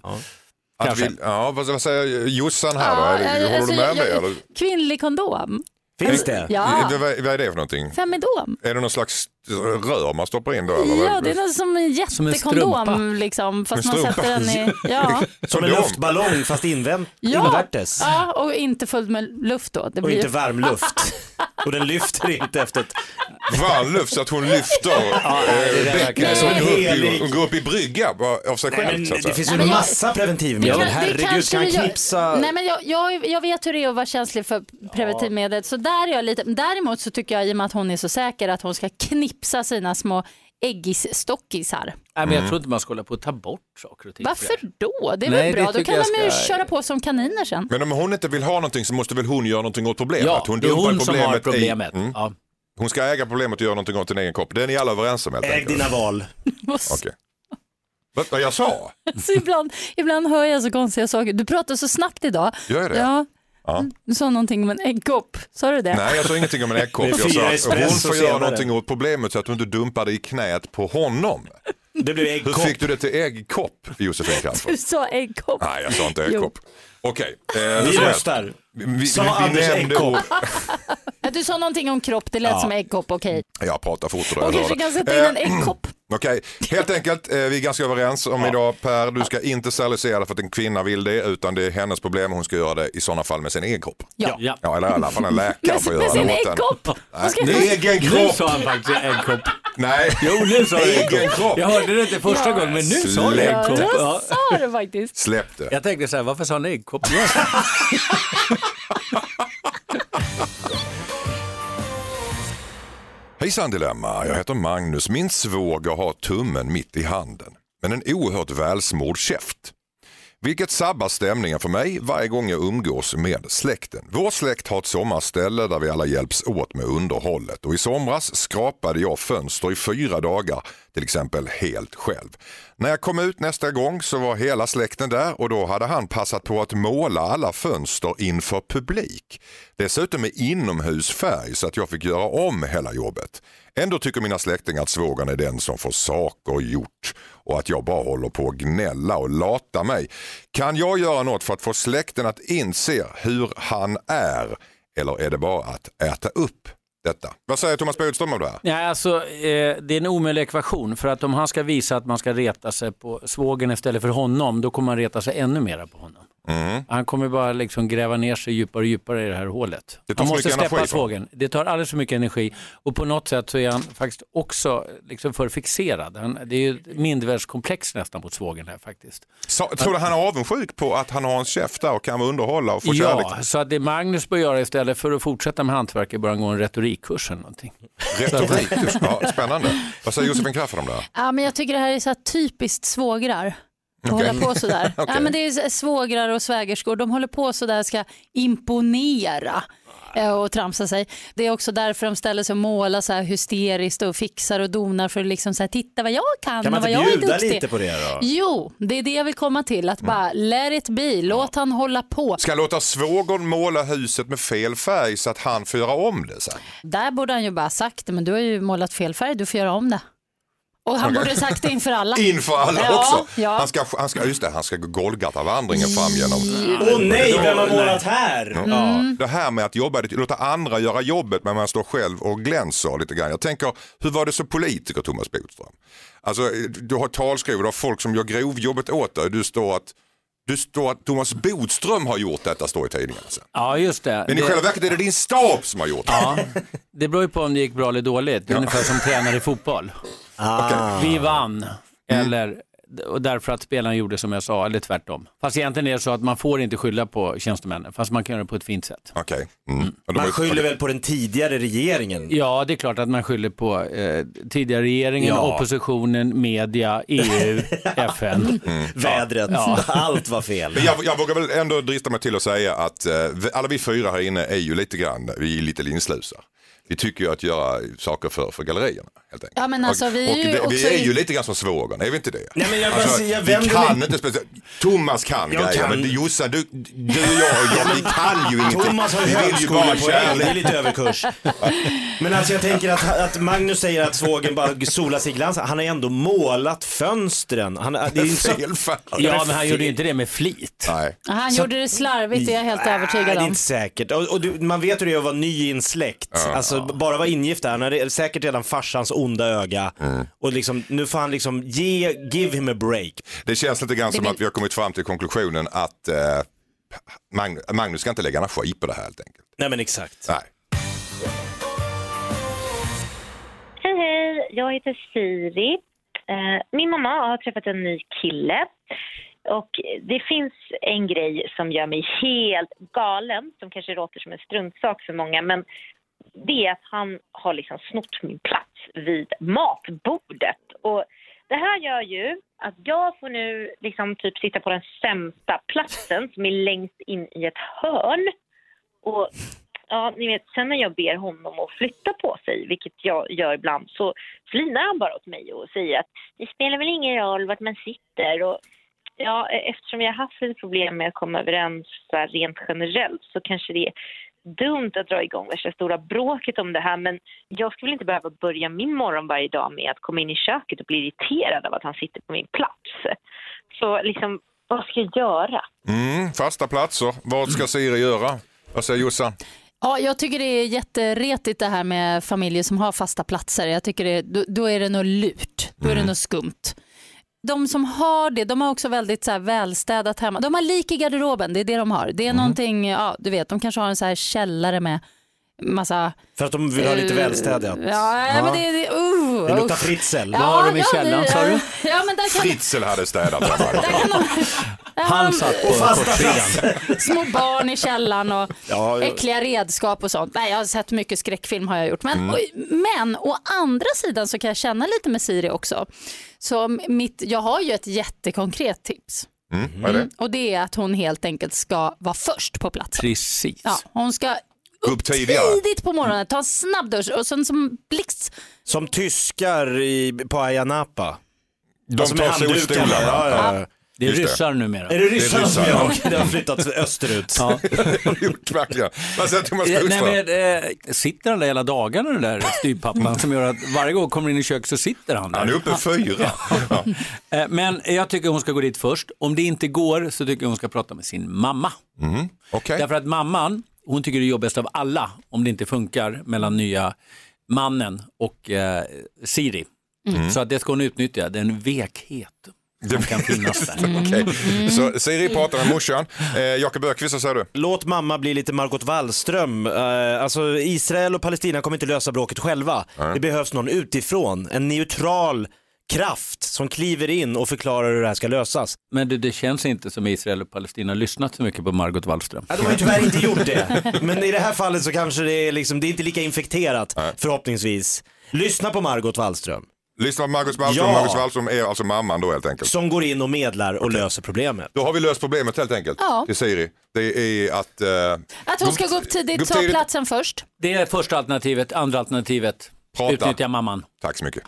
Speaker 3: Att
Speaker 2: Kanske.
Speaker 3: vi, ja, vad, vad säger Jossan här då? Är det- Håller
Speaker 5: alltså,
Speaker 3: du med
Speaker 5: jag-
Speaker 3: mig?
Speaker 5: jag-
Speaker 3: eller?
Speaker 5: Kvinnlig kondom?
Speaker 3: Ja.
Speaker 5: Ja.
Speaker 3: Det, vad, vad är det för någonting?
Speaker 5: Femidom?
Speaker 3: Är det någon slags rör man stoppar in då? Eller?
Speaker 5: Ja,
Speaker 3: vad-
Speaker 5: det är något som en
Speaker 3: Som en
Speaker 5: jättekondom
Speaker 3: strumpa.
Speaker 5: liksom, fast
Speaker 3: En
Speaker 5: man
Speaker 3: strumpa.
Speaker 5: sätter den i... Ja.
Speaker 1: Som en luftballong fast invänt,
Speaker 5: Ja.
Speaker 1: invärtes.
Speaker 5: ja, och inte fullt med luft då. Det
Speaker 1: Och
Speaker 5: blir-
Speaker 1: inte varm luft. Och den lyfter inte efter ett...
Speaker 3: Varm luft så att hon lyfter eh, bäcken
Speaker 1: verkar-
Speaker 3: så hon går, upp i,
Speaker 1: Helig.
Speaker 3: hon går upp i brygga bara av sig
Speaker 1: Nej, men
Speaker 3: själv. så att
Speaker 1: det
Speaker 3: säga.
Speaker 1: finns ju en massa preventivmedel.
Speaker 5: kan- det
Speaker 1: Herregud,
Speaker 5: kanske
Speaker 1: ska han
Speaker 5: vi gör-
Speaker 1: knipsa?
Speaker 5: Nej, men jag, jag, jag vet hur det är att vara känslig för preventivmedel. Så där är jag lite, däremot så tycker jag i och med att hon är så säker att hon ska knipsa sina små äggisstockisar.
Speaker 2: Nej,
Speaker 3: Mm.
Speaker 2: men jag tror inte man ska hålla på att ta bort saker och ting.
Speaker 5: Varför då? Det är
Speaker 2: Nej,
Speaker 5: väl bra?
Speaker 2: det
Speaker 5: Då
Speaker 2: tycker
Speaker 5: kan
Speaker 2: jag
Speaker 5: de ju
Speaker 2: ska-
Speaker 5: köra på som kaniner sen.
Speaker 3: Men om hon inte vill ha någonting så måste väl hon göra någonting åt problemet?
Speaker 2: Ja, det är
Speaker 3: dumpar
Speaker 2: hon som har problemet.
Speaker 3: i- mm. Hon ska äga problemet och göra någonting åt sin egen kropp. Det är ni alla överens om helt
Speaker 1: Äg dina val.
Speaker 3: Okej. Vad- Vad jag sa?
Speaker 5: Så ibland, ibland hör jag så konstiga saker. Du pratar så snabbt idag.
Speaker 3: Gör jag det?
Speaker 5: Ja,
Speaker 3: Ja.
Speaker 5: du sa någonting om en äggkopp. Sa du det?
Speaker 3: Nej, jag sa ingenting om en äggkopp.
Speaker 1: Det är
Speaker 3: Jag
Speaker 1: fyra
Speaker 3: sa att hon
Speaker 1: espresso
Speaker 3: får göra
Speaker 1: senare.
Speaker 3: någonting åt problemet så att hon inte dumpar det i knät på honom.
Speaker 1: Det blev
Speaker 3: Hur fick du det till äggkopp, Josefin Crafoord?
Speaker 5: Du sa äggkopp.
Speaker 3: Nej, jag sa inte
Speaker 5: Jo.
Speaker 3: äggkopp. Okej. eh, hur
Speaker 1: Vi
Speaker 3: som helst.
Speaker 1: röstar.
Speaker 3: Vi- vi-
Speaker 1: Sa
Speaker 3: vi
Speaker 1: Anders
Speaker 3: nämnde
Speaker 1: äggkopp?
Speaker 3: ord-
Speaker 5: Ja, Du sa någonting om kropp. Det lät
Speaker 3: Ja.
Speaker 5: som äggkopp. Okej.
Speaker 3: Jag pratar fort och
Speaker 5: Och
Speaker 3: jag
Speaker 5: kanske
Speaker 3: hör det.
Speaker 5: kan sätta in en
Speaker 3: Eh,
Speaker 5: äggkopp.
Speaker 3: Okej, helt enkelt, eh, vi är ganska överens om idag Per, du ska inte sterilisera dig för att en kvinna vill det utan det är hennes problem och hon ska göra det i sådana fall med sin egen kropp.
Speaker 2: Ja. ja.
Speaker 3: eller i alla fall en läkare
Speaker 2: Med-
Speaker 3: får
Speaker 2: med
Speaker 3: göra det
Speaker 2: sin
Speaker 3: åt den.
Speaker 2: äggkopp.
Speaker 3: Nej,
Speaker 2: Ska-
Speaker 3: Egen
Speaker 2: Nu
Speaker 3: kropp!
Speaker 2: sa han faktiskt äggkopp.
Speaker 3: Nej.
Speaker 2: Jo, nu sa han
Speaker 3: egen
Speaker 2: äggkopp.
Speaker 3: kropp.
Speaker 2: Jag hörde det inte första
Speaker 3: Ja.
Speaker 2: gången, men nu sa han
Speaker 3: Släpp
Speaker 2: äggkopp.
Speaker 3: det.
Speaker 2: Ja.
Speaker 5: Sa du faktiskt?
Speaker 3: Släpp det.
Speaker 2: Jag tänkte så här, varför sa han äggkopp?
Speaker 3: Hejsan Dilemma, jag heter Magnus. Min svåger har tummen mitt i handen, men en oerhört välsmord käft. Vilket sabbar stämningen för mig varje gång jag umgås med släkten. Vår släkt har ett sommarställe där vi alla hjälps åt med underhållet och i somras skrapade jag fönster i fyra dagar, till exempel helt själv. När jag kom ut nästa gång så var hela släkten där och då hade han passat på att måla alla fönster inför publik. Dessutom med inomhusfärg så att jag fick göra om hela jobbet. Ändå tycker mina släktingar att svågern är den som får saker gjort och att jag bara håller på att gnälla och lata mig. Kan jag göra något för att få släkten att inse hur han är? Eller är det bara att äta upp detta? Vad säger Thomas Bodström om det här?
Speaker 2: Nej, alltså, eh, det är en omöjlig ekvation. För att om han ska visa att man ska reta sig på svågen istället för honom, då kommer man reta sig ännu mera på honom.
Speaker 3: Mm.
Speaker 2: Han kommer bara liksom gräva ner sig djupare och djupare i det här hålet.
Speaker 3: Det tar
Speaker 2: Han
Speaker 3: för
Speaker 2: måste
Speaker 3: mycket energi
Speaker 2: släppa
Speaker 3: ifrån.
Speaker 2: svågen. Det tar alldeles för mycket energi och på något sätt så är han faktiskt också liksom för fixerad. Han, det är ju ett mindervärldskomplex nästan mot svågen här faktiskt.
Speaker 3: Så, tror du han är avundsjuk på att han har en chef där och kan underhålla och få kärlek?
Speaker 2: Ja, så att det Magnus bör göra istället för att fortsätta med hantverket bör han gå en retorikkurs eller någonting.
Speaker 3: Retorik, just, ja, spännande. Vad säger Josefin Crafoord om det här?
Speaker 5: Ja, men jag tycker det här är så här typiskt svågrar. Att
Speaker 3: Okej.
Speaker 5: hålla på sådär.
Speaker 3: Okej.
Speaker 5: ja, men det är så- svågrar och svägerskor, de håller på sådär och ska imponera eh, och tramsa sig. Det är också därför de ställer sig och målar så här hysteriskt och fixar och donar för att liksom så här, titta vad jag kan,
Speaker 1: Kan man
Speaker 5: och vad
Speaker 1: inte
Speaker 5: jag är
Speaker 1: bjuda
Speaker 5: duktig.
Speaker 1: lite på det då? Mm.
Speaker 5: Jo, det är det jag vill komma till, att bara let it be, låt han hålla på.
Speaker 3: Ska jag låta svågern måla huset med fel färg så att han får göra om det sen?
Speaker 5: Där borde han ju bara sagt det, men du har ju målat fel färg, du får göra om det. Och han
Speaker 3: Okej.
Speaker 5: borde sagt det inför alla.
Speaker 3: Inför alla
Speaker 5: ja,
Speaker 3: också?
Speaker 5: Ja.
Speaker 3: Han, ska, han, ska, just det, han ska gå Golgatavandringen fram genom...
Speaker 1: Åh nej, vem har målat här?
Speaker 3: Ja.
Speaker 5: Mm.
Speaker 3: Det här med att jobba, låta andra göra jobbet men man står själv och glänser lite grann. Jag tänker, hur var det som politiker Thomas Bodström? Alltså, du har talskrivare, du har folk som gör grovjobbet åt dig. Du står att, du står att Thomas Bodström har gjort detta, står i tidningarna sen.
Speaker 2: Ja, just det.
Speaker 3: Men i
Speaker 2: det...
Speaker 3: själva verket är det din stab som har gjort det.
Speaker 2: Ja, det beror ju på om det gick bra eller dåligt. Det är Ungefär som tränare i fotboll.
Speaker 3: Okej. Mm.
Speaker 2: Vi vann, eller och därför att spelaren gjorde som jag sa, eller tvärtom. Fast egentligen är det så att man får inte skylla på tjänstemännen, fast man kan göra det på ett fint sätt.
Speaker 3: Okej. Mm.
Speaker 1: Man skyller väl på den tidigare regeringen?
Speaker 2: Ja, det är klart att man skyller på eh, tidigare regeringen,
Speaker 1: Ja.
Speaker 2: oppositionen, media, E EU, FN.
Speaker 3: Mm.
Speaker 1: Vädret, allt var fel.
Speaker 3: Men jag, jag vågar väl ändå drista mig till att säga att eh, vi- alla vi fyra här inne är ju lite grann, vi är lite linslusar. Vi tycker ju att göra saker för, för gallerierna. Helt enkelt.
Speaker 5: Ja, men alltså, vi är
Speaker 3: och
Speaker 5: ju
Speaker 3: det,
Speaker 5: också
Speaker 3: vi är
Speaker 5: i-
Speaker 3: ju lite grann som svågern, är vi inte det? Alltså,
Speaker 1: Nej, men jag bara säger, jag
Speaker 3: vi
Speaker 1: vänder
Speaker 3: kan
Speaker 1: mig-
Speaker 3: inte speciellt. Thomas kan
Speaker 1: Jag
Speaker 3: grejer,
Speaker 1: kan.
Speaker 3: men Jossan, du, du och jag, och jag, vi kan ju ingenting.
Speaker 1: Thomas har
Speaker 3: vi vill ju bara
Speaker 1: högskolepoäng, det är
Speaker 3: kärlek.
Speaker 1: lite överkurs. Men alltså jag tänker att, att Magnus säger att svågen bara solar sig i glans. Han har ändå målat fönstren. Han, det är inte
Speaker 3: Fel färg.
Speaker 2: Ja, men han gjorde ju inte det med flit.
Speaker 3: Nej.
Speaker 5: Han
Speaker 1: Så-
Speaker 5: gjorde det slarvigt, det är jag helt
Speaker 1: Nej,
Speaker 5: övertygad
Speaker 1: det är
Speaker 5: om.
Speaker 1: inte säkert. Och, och du, man vet hur det är att vara ny i en släkt. Alltså bara vara ingift där. Han hade säkert redan farsans onda öga. Och liksom, nu får han liksom ge, give him a break.
Speaker 3: Det känns lite grann
Speaker 1: Det
Speaker 3: som
Speaker 1: blir-
Speaker 3: att vi har kommit fram till konklusionen att eh, Mag- Magnus ska inte lägga energi på det här helt enkelt.
Speaker 1: Nej men exakt.
Speaker 3: Nej.
Speaker 10: Hej, hej. Jag heter Siri. Eh, Min mamma har träffat en ny kille. Och det finns en grej som gör mig helt galen, som kanske låter som en struntsak för många, men det är att han har liksom snott min plats vid matbordet. Och det här gör ju att jag får nu liksom typ sitta på den sämsta platsen som är längst in i ett hörn. Och ja, ni vet, sen när jag ber honom att flytta på sig, vilket jag gör ibland, så flinar han bara åt mig och säger att det spelar väl ingen roll vart man sitter. Och, ja, e- eftersom jag har haft lite problem med att komma överens så här, rent generellt så kanske det är dumt att dra igång värsta stora bråket om det här men jag skulle väl inte behöva börja min morgon varje dag med att komma in i köket och bli irriterad av att han sitter på min plats. Så liksom, vad ska jag göra?
Speaker 3: Mm, fasta platser. Vad ska Siri göra? Vad säger Jossan?
Speaker 5: Ja, jag tycker det är jätteretigt det här med familjer som har fasta platser. Jag tycker det, då, då är det något lurt, då
Speaker 1: Mm.
Speaker 5: är det något skumt. De som har det, de har också väldigt så här välstädat hemma. De har lik i garderoben, det är det de har. Det är
Speaker 1: Mm.
Speaker 5: någonting, ja du vet, de kanske har en så här källare med massa...
Speaker 1: För att de vill ha lite
Speaker 5: eh,
Speaker 1: välstädat.
Speaker 5: Ja, men det, det, uh,
Speaker 1: Det luktar
Speaker 5: usch.
Speaker 1: fritzel.
Speaker 5: Ja, ja, det- Ja, men där kan,
Speaker 3: Fritzel hade städat. i alla fall.
Speaker 5: där har de
Speaker 1: Och fasta
Speaker 5: små barn i källaren och
Speaker 1: Ja, ja.
Speaker 5: äckliga redskap och sånt. Nej, jag har sett mycket skräckfilm har jag gjort. Men,
Speaker 1: Mm.
Speaker 5: oj, men å andra sidan så kan jag känna lite med Siri också. Så m- mitt, jag har ju ett jättekonkret tips.
Speaker 3: Mm, vad är det?
Speaker 5: Och det är att hon helt enkelt ska vara först på platsen.
Speaker 2: Precis.
Speaker 5: Ja, hon ska
Speaker 3: Upp tidigare.
Speaker 5: tidigt på morgonen ta en snabb dusch och sen som blixt.
Speaker 1: Som tyskar i, på Ayia Napa.
Speaker 3: De tar solstolar,
Speaker 1: Ja, ja, ja.
Speaker 2: Ja. Det är Just det. ryssar numera.
Speaker 1: Är det ryssar,
Speaker 2: Det är
Speaker 1: som
Speaker 2: ryssar,
Speaker 1: gör?
Speaker 2: ja.
Speaker 1: Okej, Det har flyttats österut.
Speaker 2: Ja.
Speaker 3: Verkligen. Vad säger Thomas
Speaker 2: Eh, Nej,
Speaker 3: Bodström?
Speaker 2: men, eh, sitter han där hela dagarna den där styvpappan som gör att varje gång hon kommer in i köket så sitter han där.
Speaker 3: Han är uppe fyra.
Speaker 2: Eh, Men jag tycker hon ska gå dit först. Om det inte går så tycker jag hon ska prata med sin mamma.
Speaker 3: Mm, okej.
Speaker 2: Därför att mamman, hon tycker det är jobbigast av alla om det inte funkar mellan nya mannen och eh, Siri.
Speaker 3: Mm.
Speaker 2: Så att Mm. det ska hon utnyttja, det är en vekhet. som kan finnas där.
Speaker 3: Okej.
Speaker 2: Mm.
Speaker 3: Så Siri pratar med morsan. Eh, Jakob Ökvist, vad säger du?
Speaker 1: Låt mamma bli lite Margot Wallström. Eh, Alltså Israel och Palestina kommer inte lösa bråket själva. Det behövs någon utifrån, en neutral kraft som kliver in och förklarar hur det här ska lösas.
Speaker 2: Men det, det känns inte som Israel och Palestina har lyssnat så mycket på Margot Wallström.
Speaker 1: Ja, de har ju tyvärr inte gjort det. Men i det här fallet så kanske det är, liksom, det är inte lika infekterat förhoppningsvis. Lyssna på Margot Wallström.
Speaker 3: Lyssna på Margot Wallström.
Speaker 1: Ja.
Speaker 3: Margot Wallström är alltså mamman då helt enkelt.
Speaker 1: Som går in och medlar och löser problemet.
Speaker 3: Då har vi löst problemet helt enkelt.
Speaker 5: Ja.
Speaker 3: Till Siri. Det är att... eh,
Speaker 5: Att hon ska gå upp tidigt, ta
Speaker 3: tidigt.
Speaker 5: platsen först.
Speaker 2: Det är första alternativet, andra alternativet, utnyttja mamman.
Speaker 3: Tack så mycket.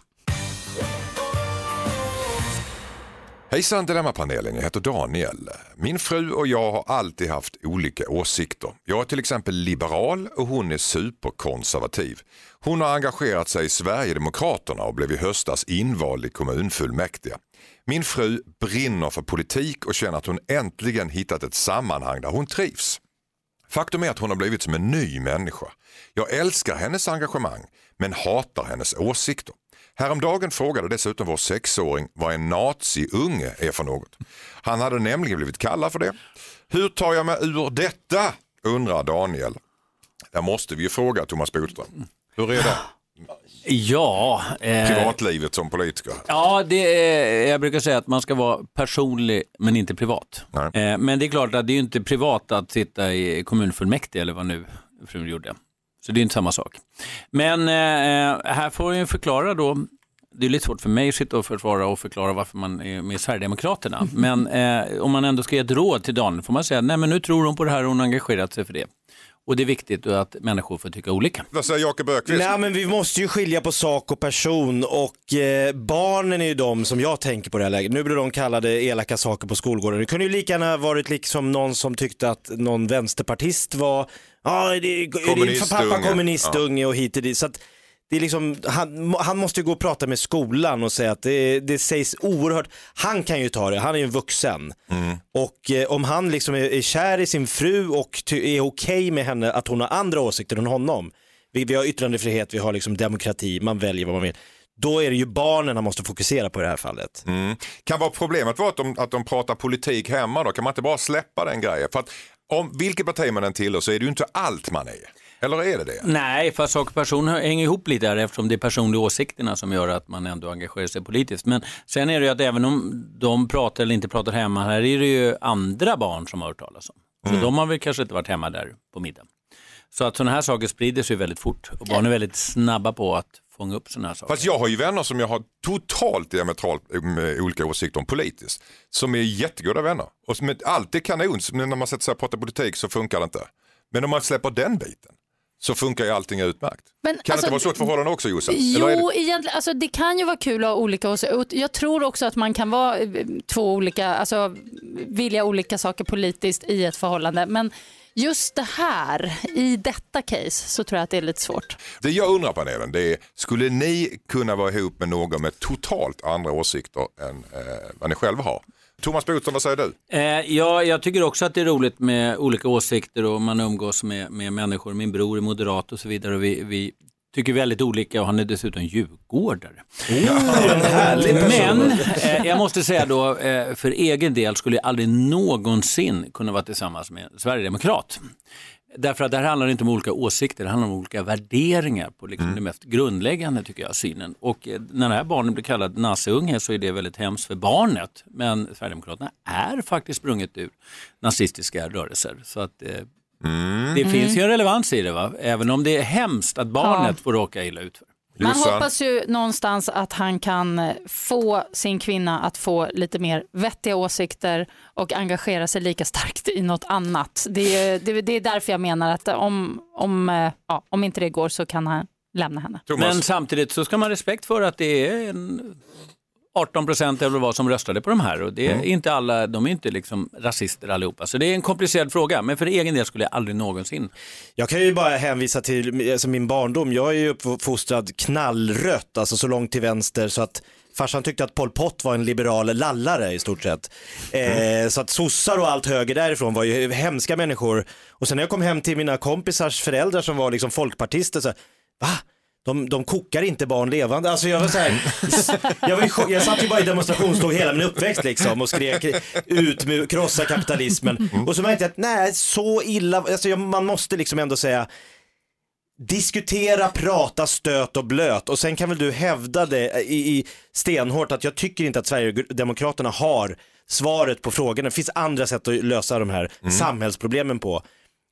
Speaker 3: Hejsan Dilemmapanelen, jag heter Daniel. Min fru och jag har alltid haft olika åsikter. Jag är till exempel liberal och hon är superkonservativ. Hon har engagerat sig i Sverigedemokraterna och blev i höstas invald i kommunfullmäktige. Min fru brinner för politik och känner att hon äntligen hittat ett sammanhang där hon trivs. Faktum är att hon har blivit som en ny människa. Jag älskar hennes engagemang men hatar hennes åsikter. Häromdagen frågade dessutom vår sexåring vad en naziunge är för något. Han hade nämligen blivit kallad för det. Hur tar jag mig ur detta? undrar Daniel. Där måste vi ju fråga Thomas Bodström. Hur är det?
Speaker 2: Ja. eh,
Speaker 3: Privatlivet som politiker.
Speaker 2: Ja, det är, jag brukar säga att man ska vara personlig men inte privat. Eh, Men det är klart att det är ju inte privat att sitta i kommunfullmäktige eller vad nu frun gjorde. Så det är inte samma sak. Men eh, här får jag ju förklara då, det är lite svårt för mig att sitta och försvara och förklara varför man är med i Sverigedemokraterna. Men eh, om man ändå ska ge ett råd till Dan får man säga, nej men nu tror hon på det här och hon har engagerat sig för det. Och det är viktigt att människor får tycka olika.
Speaker 3: Vad säger Jakob Ökvist?
Speaker 1: Nej men vi måste ju skilja på sak och person och eh, barnen är ju de som jag tänker på det här läget. Nu blir de kallade elaka saker på skolgården. Det kunde ju lika gärna varit liksom någon som tyckte att någon vänsterpartist var, ja är det, är det för pappa
Speaker 3: Kommunistunge."
Speaker 1: kommunistunge och hit och dit. Så att, det är liksom, han, han måste ju gå och prata med skolan och säga att det, det sägs oerhört, han kan ju ta det, han är ju en vuxen. Och eh, om han liksom är, är kär i sin fru och ty- är okej med henne att hon har andra åsikter än honom, vi, vi har yttrandefrihet, vi har liksom demokrati, man väljer vad man vill. Då är det ju barnen han måste fokusera på i det här fallet.
Speaker 3: Mm. Kan vara problemet vara att de, att de pratar politik hemma då? Kan man inte bara släppa den grejen? För att om vilket parti man än tillhör så är det ju inte allt man är. Eller är det det?
Speaker 2: Nej, för sak och person hänger ihop lite där eftersom det är personliga åsikterna som gör att man ändå engagerar sig politiskt. Men sen är det ju att även om de pratar eller inte pratar hemma, här är det ju andra barn som har hört talas om. Så de har väl kanske inte varit hemma där på middagen. Så att sådana här saker sprider sig väldigt fort och barn är väldigt snabba på att fånga upp sådana här saker.
Speaker 3: Fast jag har ju vänner som jag har totalt diametralt eh, olika åsikter om politiskt. Som är jättegoda vänner. Och som är alltid kanon. Så När man sätter sig och pratar politik så funkar det inte. Men om man släpper den biten så funkar ju allting utmärkt.
Speaker 5: Men alltså,
Speaker 3: kan det inte vara så att förhållanden också Jossan? Eller är
Speaker 5: Jo,
Speaker 3: det-
Speaker 5: egentligen, alltså, det kan ju vara kul att ha olika åsikter. Och Jag tror också att man kan vara eh, två olika, alltså vilja olika saker politiskt i ett förhållande. Men just det här, i detta case, så tror jag att det är lite svårt.
Speaker 3: Det jag undrar panelen det är, skulle ni kunna vara ihop med någon med totalt andra åsikter än eh, vad ni själva har? Thomas Bodström, vad säger du?
Speaker 2: Eh, ja, jag tycker också att det är roligt med olika åsikter och man umgås med, med människor. Min bror är moderat och så vidare och vi, vi tycker väldigt olika och han är dessutom djurgårdare. Eh, Men eh, jag måste säga då, eh, för egen del skulle jag aldrig någonsin kunna vara tillsammans med en sverigedemokrat. Därför att det här handlar inte om olika åsikter, det handlar om olika värderingar på liksom det mest grundläggande tycker jag, synen. Och eh, när det här barnet blir kallad naziunge så är det väldigt hemskt för barnet. Men Sverigedemokraterna är faktiskt sprunget ur nazistiska rörelser. Så att, eh, Det
Speaker 5: Mm.
Speaker 2: finns ju en relevans i det, va? även om det är hemskt att barnet får råka illa ut. För.
Speaker 5: Man hoppas ju någonstans att han kan eh, få sin kvinna att få lite mer vettiga åsikter och engagera sig lika starkt i något annat. Det är, det, är- det är därför jag menar att om, om, eh, ja, om inte det går så kan han lämna henne.
Speaker 2: Men samtidigt så ska man ha respekt för att det är en 18 procent eller vad som röstade på de här och
Speaker 3: Mm.
Speaker 2: det är inte alla, de är inte liksom rasister allihopa. Så det är en komplicerad fråga, men för egen del skulle jag aldrig någonsin.
Speaker 1: Jag kan ju bara hänvisa till alltså min barndom. Jag är ju uppfostrad knallrött, alltså så långt till vänster så att farsan tyckte att Pol Pot var en liberal lallare i stort sett. Eh, så att sossar och allt höger därifrån var ju hemska människor. Och sen när jag kom hem till mina kompisars föräldrar som var liksom folkpartister så här, va? de, de kokar inte barn levande. Alltså jag var så här, jag, var ju chock- jag satt ju bara i demonstrationståg hela min uppväxt liksom och skrek ut, med, krossa kapitalismen. Och så märkte jag att nej, så illa, alltså jag, man måste liksom ändå säga Diskutera, prata, stöt och blöt och sen kan väl du hävda det i, i stenhårt att jag tycker inte att Sverigedemokraterna har svaret på frågorna. Det finns andra sätt att lösa de här samhällsproblemen på.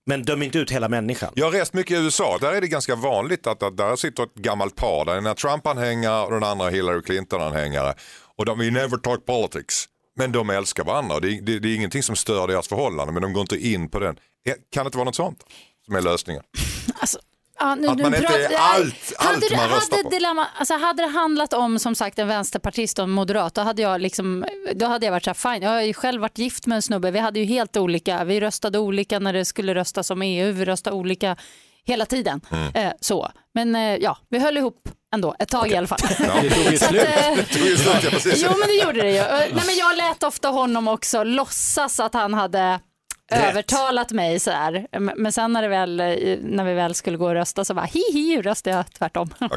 Speaker 1: Men döm inte ut hela människan.
Speaker 3: Jag har rest mycket i USA. Där är det ganska vanligt att, att där sitter ett gammalt par. Där är den ena Trump-anhängare och den andra Hillary Clinton-anhängare. Och de, we never talk politics. Men de älskar varandra. Det, är- det, det är ingenting som stör deras förhållande. Men de går inte in på den. Eh, Kan det inte vara något sånt som är lösningen?
Speaker 5: Alltså, Ja,
Speaker 3: Att man inte är
Speaker 5: Nej,
Speaker 3: allt- allt
Speaker 5: hade, det-
Speaker 3: man röstar
Speaker 5: hade
Speaker 3: på.
Speaker 5: Dilemma, alltså, hade det handlat om som sagt en vänsterpartist och en moderat, då hade jag, liksom, då hade jag varit så här, fine. Jag har ju själv varit gift med en snubbe, vi hade ju helt olika, vi röstade olika när det skulle röstas om EU, vi röstade olika hela tiden.
Speaker 3: Mm.
Speaker 5: Eh, så. Men eh, ja, vi höll ihop ändå, ett tag i alla fall.
Speaker 3: Det tog ju
Speaker 5: Så att,
Speaker 3: slut.
Speaker 5: eh,
Speaker 3: Det tog ju slut, ja, precis.
Speaker 5: Jo men det gjorde det ju. Eh, Nej, men jag lät ofta honom också låtsas att han hade
Speaker 3: Rätt.
Speaker 5: övertalat mig så här. M- Men sen när, det väl, eh, när vi väl skulle gå och rösta så bara hihi, röstade jag tvärtom.
Speaker 1: Här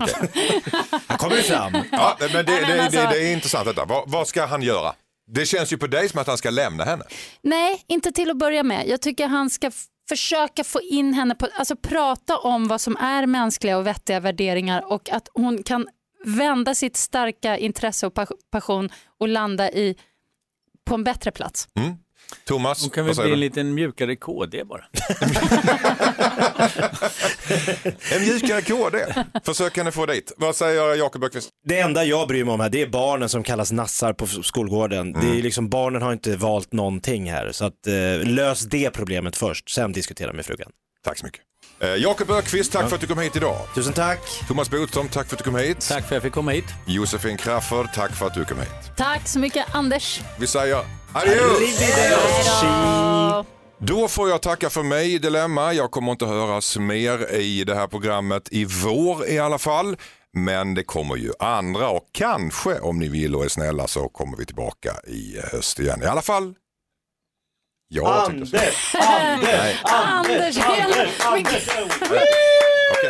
Speaker 1: kommer det fram.
Speaker 3: Ja, men det, det,
Speaker 5: men
Speaker 3: det,
Speaker 5: alltså-
Speaker 3: det, är intressant detta. Vad, vad ska han göra? Det känns ju på dig som att han ska lämna henne.
Speaker 5: Nej, inte till att börja med. Jag tycker han ska f- försöka få in henne på, alltså prata om vad som är mänskliga och vettiga värderingar och att hon kan vända sitt starka intresse och pas- passion och landa i på en bättre plats.
Speaker 3: Thomas,
Speaker 2: Hon kan väl
Speaker 3: vad säger
Speaker 2: bli en
Speaker 3: du?
Speaker 2: liten mjukare KD bara.
Speaker 3: En mjukare KD. Försök henne få dit. Vad säger Jakob Öqvist?
Speaker 1: Det enda jag bryr mig om här, det är barnen som kallas nassar på skolgården. Det är liksom, barnen har inte valt någonting här. Så att, eh, lös det problemet först, sen diskutera med frugan.
Speaker 3: Tack så mycket. Eh, Jakob Ökvist, tack för att du kom hit idag.
Speaker 1: Tusen tack.
Speaker 3: Thomas Bodström, tack för att du kom hit. Tack
Speaker 2: för att jag fick komma hit.
Speaker 3: Josefin Crafoord, tack för att du kom hit.
Speaker 5: Tack så mycket Anders.
Speaker 3: Vi säger adios!
Speaker 5: Hej då!
Speaker 3: Då får jag tacka för mig i Dilemma. Jag kommer inte höras mer i det här programmet i vår i alla fall. Men det kommer ju andra och kanske om ni vill och är snälla så kommer vi tillbaka i höst igen. I alla fall, jag tycker så. Nej.
Speaker 5: Anders, Anders, Anders.
Speaker 3: Hej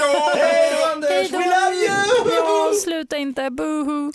Speaker 3: då!
Speaker 5: Hej då Anders, we love you! Jo, sluta inte, boohoo!